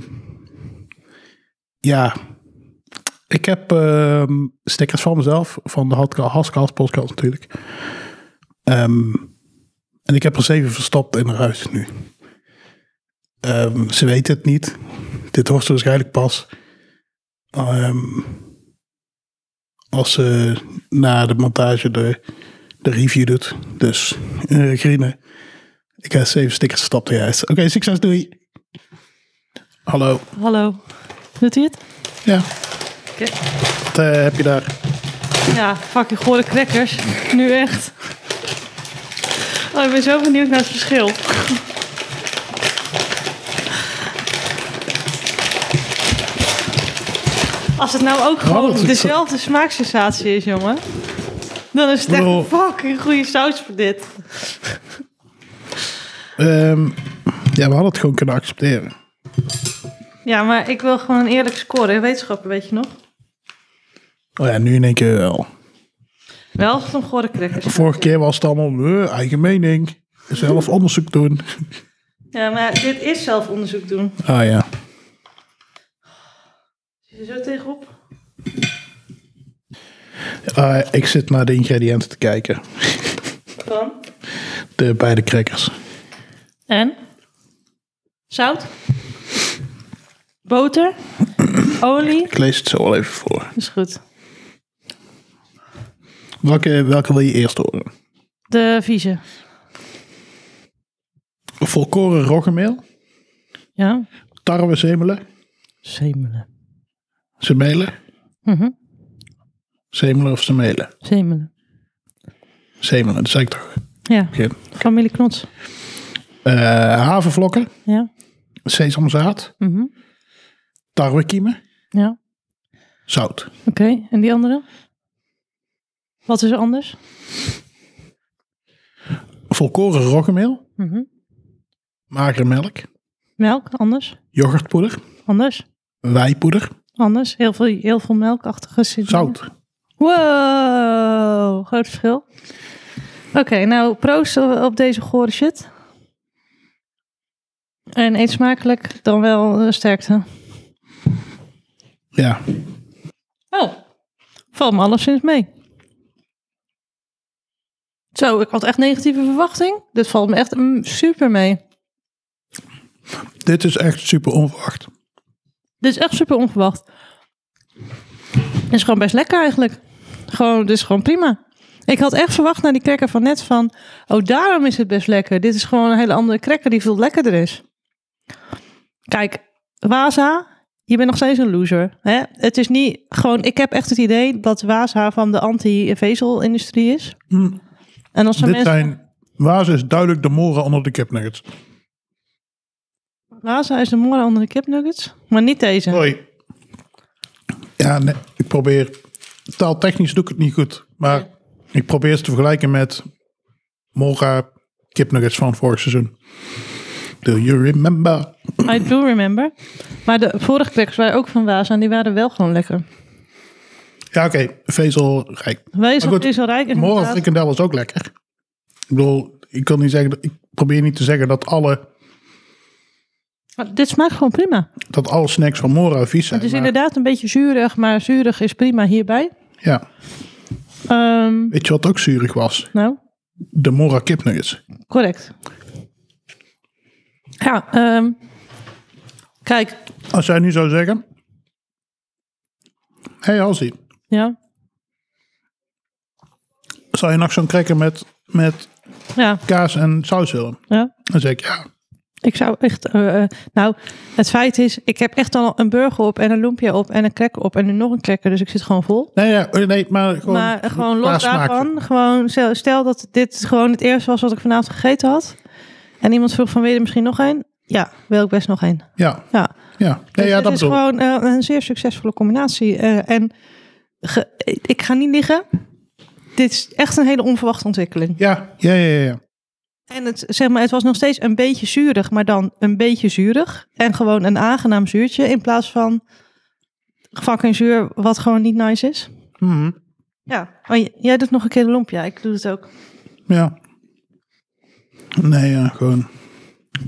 A: ja, ik heb ehm, stickers van mezelf, van de Haskell's podcast natuurlijk. Ehm, en ik heb er zeven verstopt in haar huis nu. Ehm, ze weet het niet. Dit hoort ze waarschijnlijk pas. ehm, als ze na de montage de, de review doet. Dus, eh Grine. Ik heb zeven stickers gestapt juist. Oké, succes, doei. Hallo.
B: Hallo. Doet hij het?
A: Ja. Wat eh, heb je daar?
B: Ja, fucking gore crackers. Nu echt. Oh, ik ben zo benieuwd naar het verschil. Als het nou ook gewoon
A: Oh, dat is-
B: dezelfde smaaksensatie is, jongen. Dan is het echt
A: Lol.
B: een fucking goede saus voor dit.
A: Ehm, ja, we hadden het gewoon kunnen accepteren.
B: Ja, maar ik wil gewoon een eerlijk scoren. in Wetenschappen, weet je nog?
A: Oh ja, nu in één keer wel.
B: Wel als het om gore crackers gaat.
A: Vorige keer was het allemaal eh, eigen mening. Zelf onderzoek doen.
B: Ja, maar dit is zelf onderzoek doen.
A: Ah ja.
B: Zit je zo tegenop?
A: Ah, ik zit naar de ingrediënten te kijken.
B: Van?
A: De beide crackers.
B: En? Zout? Boter? Olie?
A: Ik lees het zo wel even voor.
B: Is goed.
A: Welke, welke wil je eerst horen?
B: De vieze.
A: Volkoren roggemeel,
B: Ja.
A: tarwe zemelen,
B: Zemelen.
A: semelen,
B: Mhm.
A: zemelen of semelen?
B: Zemelen.
A: Zemelen, dat zei ik toch.
B: Ja.
A: Begin.
B: Familie Knots.
A: Eh, havenvlokken,
B: Ja.
A: sesamzaad,
B: Mhm.
A: tarwekiemen,
B: Ja.
A: zout.
B: Oké. En die andere? Wat is er anders?
A: Volkoren roggemeel,
B: Mhm.
A: magere melk,
B: Melk? Anders?
A: yoghurtpoeder,
B: Anders?
A: wijpoeder,
B: Anders? Heel veel, heel veel melkachtige zitten.
A: zout.
B: Wow, groot verschil. Oké, nou proost op deze gore shit. En eet smakelijk, dan wel eh, sterkte.
A: Ja,
B: Oh, valt me alleszins mee. Zo, ik had echt negatieve verwachting. Dit valt me echt mm, super mee.
A: dit is echt super onverwacht.
B: Dit is echt super onverwacht. Dit is gewoon best lekker eigenlijk. Gewoon, dit is gewoon prima. Ik had echt verwacht naar die cracker van net van... Oh, daarom is het best lekker. Dit is gewoon een hele andere cracker die veel lekkerder is. Kijk, Waza, je bent nog steeds een loser. Hè? Het is niet gewoon... Ik heb echt het idee dat Waza van de anti-vezelindustrie is.
A: Hm.
B: En als er
A: Dit
B: mensen...
A: zijn, Waas is duidelijk de moren onder de kipnuggets.
B: Waza is de moren onder de kipnuggets. Maar niet deze.
A: Hoi. Ja, nee, ik probeer. Taaltechnisch doe ik het niet goed. Maar ik probeer ze te vergelijken met. Mora kipnuggets van vorig seizoen. Do you remember?
B: I do remember. Maar de vorige crackers waren ook van Waza en die waren wel gewoon lekker.
A: Ja, oké. Vezelrijk. Maar
B: Wezel
A: goed,
B: is al rijk. en
A: Mora frikandel was ook lekker. Ik bedoel, ik, kan niet zeggen, dat- ik probeer niet te zeggen dat alle,
B: Maar Dit smaakt gewoon prima.
A: dat alle snacks van Mora vies zijn.
B: Het is
A: maar-
B: inderdaad een beetje zuurig, maar zuurig is prima hierbij.
A: ja.
B: Ehm,
A: Weet je wat ook zuurig was?
B: nou,
A: De Mora kipnuggets.
B: correct. Ja, ehm, kijk.
A: Als jij nu zou zeggen. Hé, hey, Halsey.
B: Ja,
A: zou je nog zo'n cracker met, met
B: ja,
A: kaas en saus willen?
B: ja.
A: Dan zeg ik ja.
B: Ik zou echt, eh, eh, nou, het feit is, ik heb echt al een burger op en een lumpia op en een cracker op en nu nog een cracker, dus ik zit gewoon vol.
A: Nee, ja, eh, nee maar gewoon,
B: maar gewoon
A: qua
B: los
A: smaak.
B: daarvan, gewoon stel- stel dat dit gewoon het eerste was wat ik vanavond gegeten had. En iemand vroeg van, wil je er misschien nog een? Ja, wil ik best nog een.
A: Ja,
B: Ja,
A: ja.
B: Dus
A: Nee, ja
B: het
A: dat
B: is
A: bedoel ik.
B: gewoon eh, een zeer succesvolle combinatie. eh, en ge- ik ga niet liggen. Dit is echt een hele onverwachte ontwikkeling.
A: Ja, ja, ja, ja, ja.
B: En het, zeg maar, het was nog steeds een beetje zuurig, maar dan een beetje zuurig. En gewoon een aangenaam zuurtje in plaats van fucking zuur, wat gewoon niet nice is.
A: Mhm.
B: Ja, oh, j- jij doet nog een keer de lompje. Ja, ik doe het ook.
A: Ja. Nee, ja, gewoon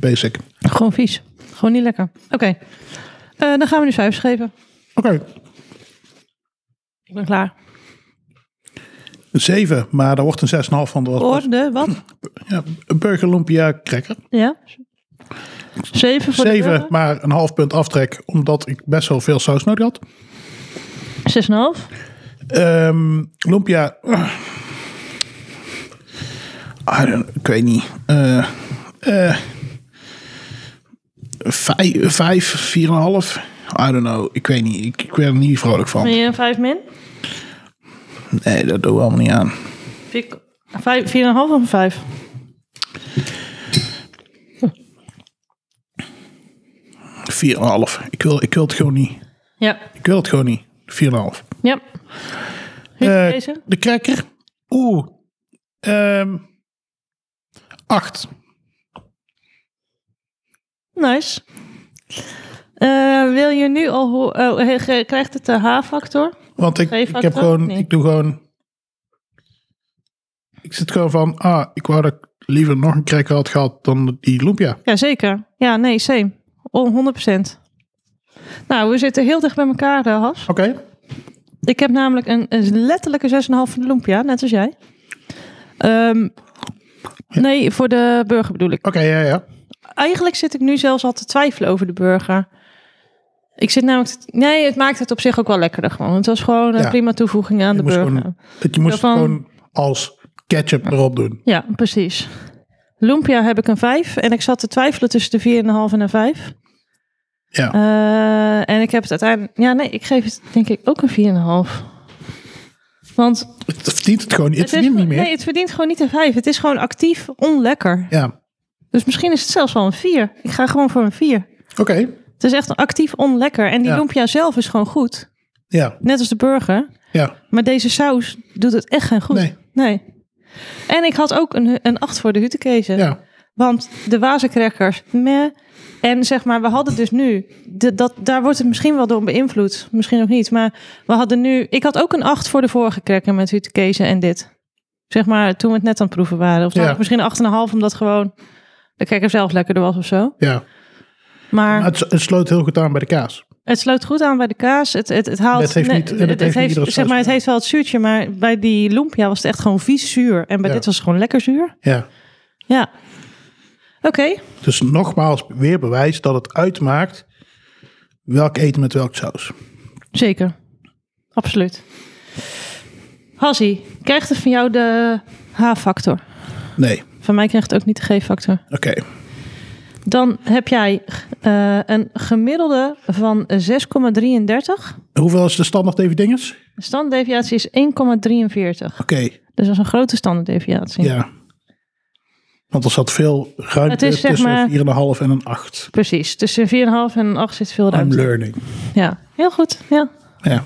A: basic. Oké.
B: Gewoon vies. Gewoon niet lekker. Oké, Eh, dan gaan we nu cijfers geven. Ik ben klaar.
A: Een 7, maar daar wordt een 6,5 van. Dat was best-
B: Orde, wat?
A: ja, een burger lumpia cracker.
B: Ja. Zeven voor de
A: 7,
B: burger.
A: maar een half punt aftrek, omdat ik best wel veel saus nodig had.
B: Zes en een half.
A: Ehm lumpia. ah, I don't- ik weet niet. Eh eh, vij- Vijf, vier en een half. I don't know. Ik weet niet. Ik, ik ben er niet vrolijk
B: Ben
A: van.
B: je een vijf min?
A: Nee, dat doen we allemaal niet aan.
B: Vier, vijf, vier en een half of een vijf?
A: Vier en een half. Ik wil, ik wil het gewoon niet.
B: Ja.
A: Ik wil het gewoon niet. Vier en een half.
B: Ja. Hier,
A: Eh,
B: deze?
A: de cracker. Oeh. Ehm acht.
B: Nice. Eh, wil je nu al ho- oh, he- ge- krijgt het de H-factor?
A: Want ik,
B: Geef
A: ik
B: ook
A: heb
B: terug,
A: gewoon,
B: nee.
A: ik doe gewoon. Ik zit gewoon van, ah, ik wou dat ik liever nog een cracker had gehad dan die lumpia.
B: Jazeker. Ja, nee, same. Oh, 100%. Nou, we zitten heel dicht bij elkaar, eh, Has.
A: Oké.
B: Ik heb namelijk een, een letterlijke 6,5 van de Lumpia, net als jij. Ehm, nee, voor de burger bedoel ik.
A: Oké, ja, ja.
B: Eigenlijk zit ik nu zelfs al te twijfelen over de burger. Ik zit namelijk... te- Nee, het maakt het op zich ook wel lekkerder gewoon. Het was gewoon een
A: Ja.
B: prima toevoeging aan de
A: moest
B: burger.
A: gewoon- Dat je moest
B: Zo van-
A: het gewoon als ketchup erop doen.
B: Ja, precies. Lumpia heb ik een 5 en ik zat te twijfelen tussen de 4,5 en een 5.
A: Ja.
B: Eh, en ik heb het uiteindelijk. Ja, nee, ik geef het denk ik ook een 4,5. Want
A: Het verdient het gewoon, het,
B: is,
A: verdient niet meer.
B: Nee, het verdient gewoon niet een 5. Het is gewoon actief onlekker.
A: Ja.
B: Dus misschien is het zelfs wel een 4. Ik ga gewoon voor een 4.
A: Oké.
B: Het is echt een actief onlekker. En die
A: Ja.
B: lumpia zelf is gewoon goed.
A: Ja.
B: Net als de burger.
A: Ja.
B: Maar deze saus doet het echt geen goed.
A: Nee.
B: Nee. En ik had ook een, een 8 voor de hutekezen.
A: Ja.
B: Want de wazencrackers, meh. En zeg maar, we hadden dus nu, de, dat, daar wordt het misschien wel door beïnvloed. Misschien ook niet. Maar we hadden nu, ik had ook een 8 voor de vorige cracker met Hutekezen en dit. Zeg maar, toen we het net aan het proeven waren. Of
A: Ja.
B: dan misschien een 8,5, omdat gewoon de cracker zelf lekkerder was of zo.
A: Ja.
B: Maar
A: Maar het, het sloot heel goed aan bij de kaas.
B: het sloot goed aan bij de kaas. Het, het, het haalt...
A: Het heeft
B: nee,
A: niet- het heeft niet iedere
B: zeg maar, het
A: saus.
B: heeft wel het zuurtje, maar bij die lumpia was het echt gewoon vies zuur. En bij
A: Ja.
B: dit was het gewoon lekker zuur.
A: Ja.
B: Ja. Oké.
A: Dus nogmaals, weer bewijs dat het uitmaakt welk eten met welk saus.
B: Zeker. Absoluut. Hassie, krijgt het van jou de H-factor?
A: Nee.
B: Van mij krijgt het ook niet de G-factor.
A: Oké.
B: Dan heb jij eh, een gemiddelde van 6,33.
A: Hoeveel is de standaard even dinges?
B: De standaarddeviatie is 1,43.
A: Oké.
B: Dus dat is een grote standaarddeviatie.
A: Ja. Want er zat veel
B: Het
A: ruimte
B: is, zeg
A: tussen
B: maar-
A: een 4,5 en een 8.
B: Precies. Tussen 4,5 en een 8 zit veel
A: I'm
B: ruimte.
A: learning.
B: Ja, heel goed. Ja.
A: Ja.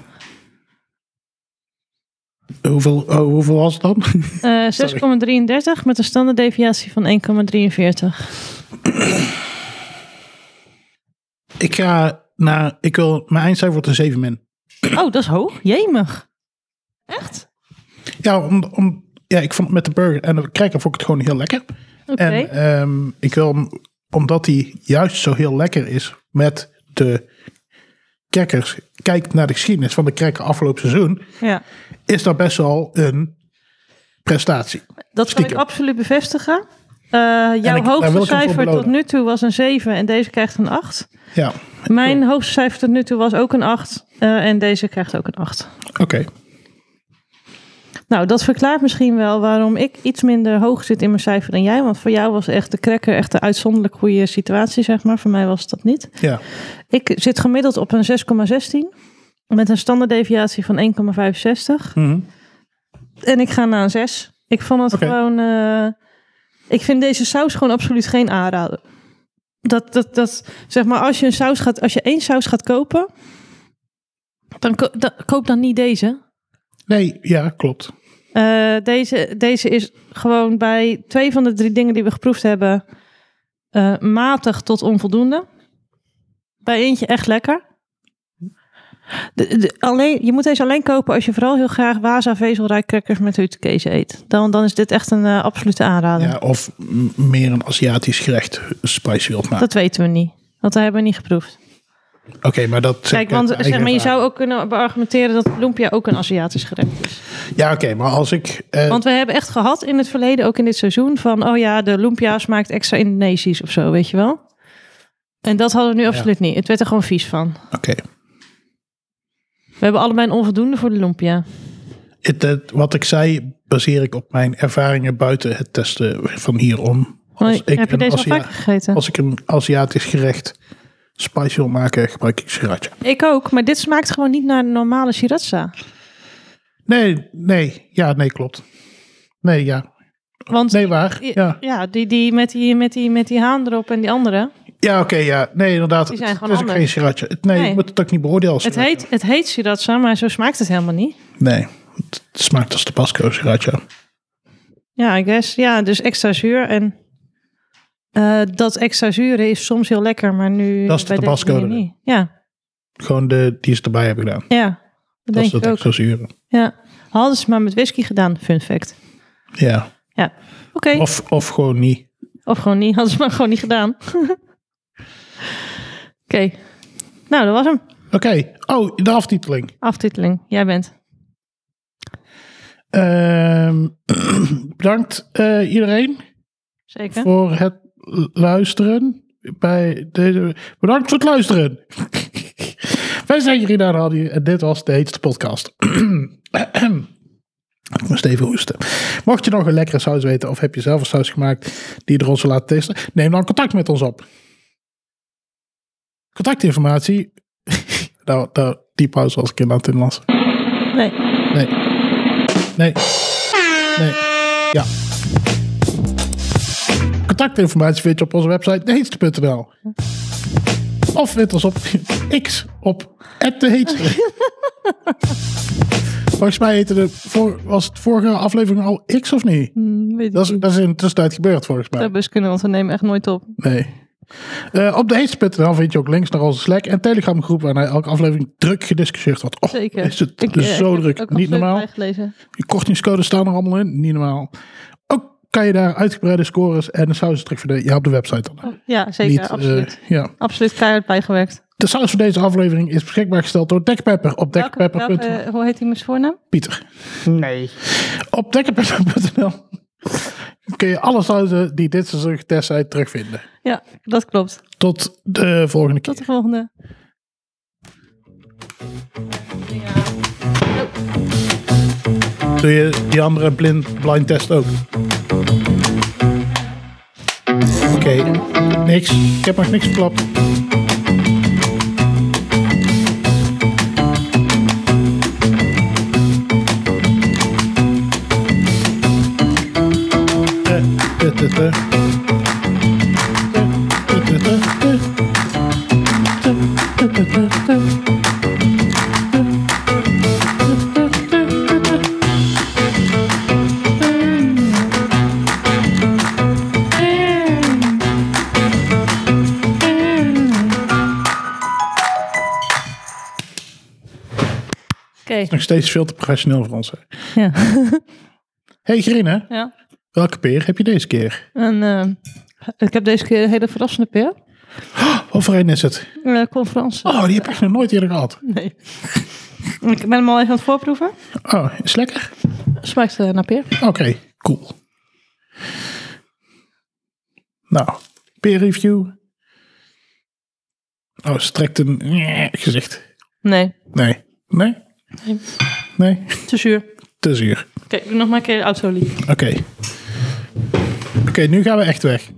A: Hoeveel, oh, hoeveel was het dan?
B: Eh, 6,33 met een standaarddeviatie van 1,43.
A: ik ga naar, ik wil, mijn eindcijfer wordt een 7 min.
B: Oh, dat is hoog. Jemig. Echt?
A: Ja, om, om, ja, ik vond het met de burger en de cracker vond ik het gewoon heel lekker.
B: Oké.
A: En ehm, ik wil, hem- omdat hij juist zo heel lekker is met de crackers, kijk naar de geschiedenis van de cracker afgelopen seizoen,
B: Ja.
A: is dat best wel een prestatie.
B: Dat kan ik
A: Stiekem.
B: absoluut bevestigen. Eh, jouw
A: ik- daar wil
B: hoogste
A: ik hem voor
B: cijfer tot
A: belonen.
B: nu toe was een 7 en deze krijgt een 8.
A: Ja,
B: Mijn hoogste cijfer tot nu toe was ook een 8 eh, en deze krijgt ook een 8.
A: oké.
B: Nou, dat verklaart misschien wel waarom ik iets minder hoog zit in mijn cijfer dan jij. Want voor jou was echt de cracker echt een uitzonderlijk goede situatie, zeg maar. Voor mij was dat niet.
A: Ja.
B: Ik zit gemiddeld op een 6,16. Met een standaarddeviatie van 1,65.
A: Mhm.
B: En ik ga naar een 6. Ik vond het
A: Oké.
B: gewoon. eh, ik vind deze saus gewoon absoluut geen aanrader. Dat, dat, dat, zeg maar, als je, een saus gaat, als je één saus gaat kopen, dan ko- da- koop dan niet deze.
A: Nee, ja, klopt.
B: Eh, deze, deze is gewoon bij twee van de drie dingen die we geproefd hebben eh, matig tot onvoldoende. Bij eentje echt lekker. De, de- alleen, je moet deze alleen kopen als je vooral heel graag Waza vezelrijk crackers met hutkees eet. Dan, dan is dit echt een eh, absolute aanrader.
A: Ja, of m- meer een Aziatisch gerecht spicy wilt maken.
B: Dat weten we niet. Want dat hebben we niet geproefd.
A: Oké, maar dat... zeg
B: Kijk,
A: eh, ik uit
B: want
A: mijn
B: zeg maar, je
A: eigen
B: zou ook kunnen beargumenteren dat lumpia ook een Aziatisch gerecht is.
A: ervaring. Ja, oké, maar als ik... eh,
B: Want we hebben echt gehad in het verleden, ook in dit seizoen, van oh ja, de lumpia smaakt extra Indonesisch of zo, weet je wel. En dat hadden we nu absoluut niet. Het werd er gewoon vies van.
A: Oké.
B: We hebben allebei een onvoldoende voor de lumpia.
A: Het, het- wat ik zei, baseer ik op mijn ervaringen buiten het testen van hierom.
B: Maar
A: Als ik,
B: heb je
A: een
B: deze al
A: Azia-
B: vaker gegeten?
A: als ik een Aziatisch gerecht spicy wil maken, gebruik ik sriracha.
B: Ik ook, maar dit smaakt gewoon niet naar de normale sriracha.
A: Nee, nee, ja, nee, klopt. Nee, ja.
B: Want
A: Nee, waar? Ja,
B: ja die, die, met die, met die met die haan erop en die andere.
A: ja oké, ja. Nee, inderdaad.
B: Die zijn
A: het, het
B: gewoon
A: is ook geen
B: anders.
A: sriracha. Het- Nee,
B: Nee.
A: je moet het ook niet beoordelen als
B: Het
A: sriracha.
B: heet, het heet sriracha, maar zo smaakt het helemaal niet.
A: Nee, het smaakt als tabasco sriracha.
B: Ja, I guess. Ja, dus extra zuur. En eh, dat extra zure is soms heel lekker, maar nu...
A: Dat is de
B: bij deze
A: Tabasco
B: manier
A: erin.
B: niet. Ja,
A: Gewoon de die ze erbij hebben gedaan.
B: ja. Dat,
A: Dat is
B: denk
A: dat
B: ik ook.
A: extra zure.
B: Ja. Hadden ze maar met whisky gedaan, fun fact.
A: Ja.
B: Ja, oké. Of,
A: Of, of gewoon niet.
B: gewoon niet, hadden ze maar gewoon niet gedaan. oké. Nou, dat was hem.
A: Oké. Oh, de aftiteling.
B: Aftiteling. Jij bent.
A: Ehm, bedankt eh, iedereen
B: Zeker.
A: voor het luisteren. Bij deze, bedankt voor het luisteren. Wij zijn Jirina en Hadi en dit was de heetste podcast. Ik moest even hoesten. Mocht je nog een lekkere saus weten of heb je zelf een saus gemaakt die je er ons wil laten testen, neem dan contact met ons op. Contactinformatie. nou, nou, die pauze was ik in aan het inlassen.
B: Nee.
A: Nee. Nee. Nee. Ja. Contactinformatie vind je op onze website deheetste.nl. Of vind ons op X op @deheetste. Volgens mij heette de voor, was het vorige aflevering al X of niet?
B: Hmm, weet ik
A: Dat is,
B: niet.
A: dat is in de tussentijd gebeurd volgens mij.
B: Dat bus kunnen, want we nemen echt nooit op.
A: Nee. Eh, op deheetste.nl vind je ook links naar onze Slack en Telegram groep waarna elke aflevering druk gediscussieerd wordt. Och,
B: Zeker.
A: is het dus
B: Ik, eh, ik
A: zo
B: heb
A: druk.
B: ook
A: Niet
B: absoluut
A: normaal.
B: bijgelezen.
A: Je kortingscodes staan er allemaal in. Niet normaal. Ook kan je daar uitgebreide scores en een sausentruc vinden. Ja, op de website dan.
B: Oh, Ja, zeker.
A: eh,
B: absoluut.
A: ja.
B: absoluut keihard bijgewerkt.
A: De saus voor deze aflevering is beschikbaar gesteld door Dekpepper op
B: Welke-
A: dekpepper.nl.
B: welke- eh, hoe heet hij met zijn voornaam?
A: Pieter.
B: Nee.
A: Op dekpepper.nl kun je alle sauzen die dit seizoen getest zijn terugvinden.
B: Ja, dat klopt.
A: Tot de volgende keer.
B: Tot de volgende.
A: Doe je die andere blind, blind test ook? Oké, niks. Ik heb nog niks geklapt. Eh, eh, eh, eh. Eh, eh, eh, eh.
B: Oké.
A: Nog steeds veel te professioneel voor ons. hè.
B: Ja.
A: Hey Grine,
B: ja.
A: welke peer heb je deze keer?
B: En, eh, ik heb deze keer een hele verrassende peer.
A: Wat voor een is het?
B: Eh, conferentie.
A: Oh, die heb ik nog nooit eerder gehad.
B: Nee. ik ben hem al even aan het voorproeven.
A: Oh, is lekker?
B: Smaakt eh, naar peer.
A: Oké, cool. Nou, peer review. Oh, ze trekt een gezicht.
B: Nee,
A: Nee. Nee?
B: Nee.
A: Nee?
B: te zuur.
A: te zuur.
B: Oké, doe nog maar een keer autolie.
A: Oké. Oké, nu gaan we echt weg.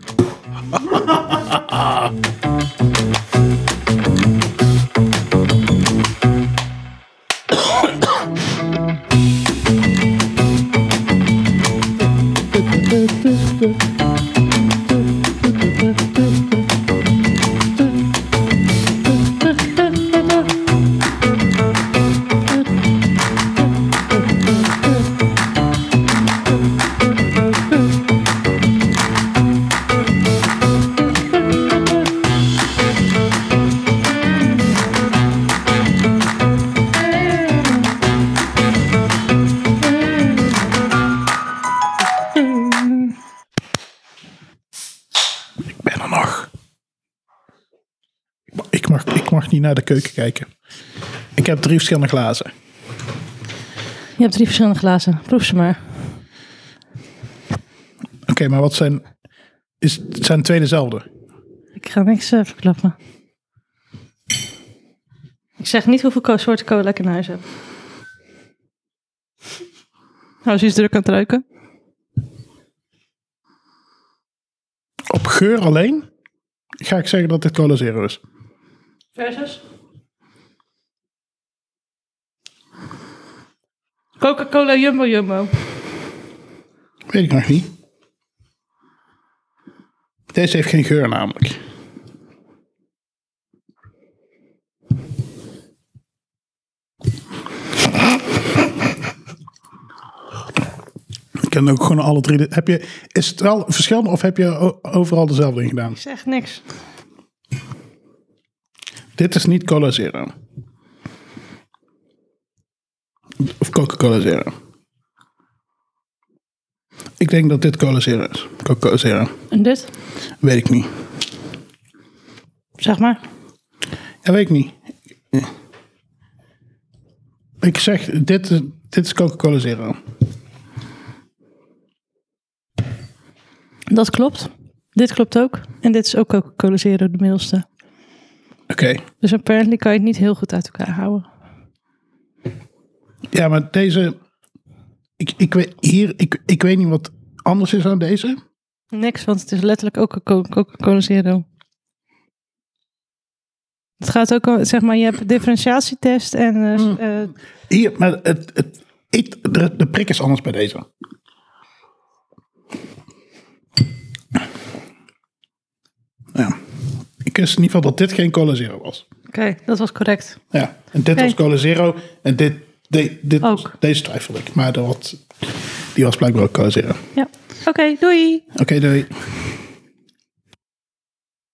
A: Ik ben er nog. Ik mag, ik mag niet naar de keuken kijken. Ik heb drie verschillende glazen.
B: Je hebt drie verschillende glazen. Proef ze maar.
A: Oké, maar wat zijn. Is, zijn twee dezelfde?
B: Ik ga niks eh, verklappen. Ik zeg niet hoeveel co- soorten cola ik in huis heb. Nou, ze is druk aan het ruiken.
A: Op geur alleen ga ik zeggen dat dit Cola Zero is.
B: Versus? Coca-Cola Jumbo Jumbo.
A: Weet ik nog niet. Deze heeft geen geur namelijk. Ik ken ook gewoon alle drie. de- Heb je, is het wel verschillend of heb je o- overal dezelfde in gedaan?
B: Ik zeg niks.
A: Dit is niet Cola Zero. Of Coca-Cola Zero. Ik denk dat dit Cola Zero is. Coca-Cola Zero.
B: En dit?
A: Weet ik niet.
B: Zeg maar.
A: Ja, weet ik niet. Ik zeg, dit, is- dit is Coca-Cola Zero.
B: Dat klopt. Dit klopt ook. En dit is ook Coca-Cola Zero, de middelste.
A: Oké.
B: Dus apparently kan je het niet heel goed uit elkaar houden.
A: Ja, maar deze... Ik, ik, weet, hier, ik, ik weet niet wat anders is aan deze.
B: Niks, want het is letterlijk ook een Co- Coca-Cola Zero. Het gaat ook, al- zeg maar, je hebt differentiatietest en... eh, eh,
A: Hier, maar het, het, eet- de, de prik is anders bij deze. Ja. Ik wist in ieder geval dat dit geen Cola Zero was.
B: Oké, dat was correct.
A: Ja, en dit
B: Oké.
A: was Cola Zero. En dit, de- dit was-
B: Ook.
A: deze twijfel ik. Maar dat, die was blijkbaar ook Cola Zero.
B: Ja. Oké, doei!
A: Oké, doei.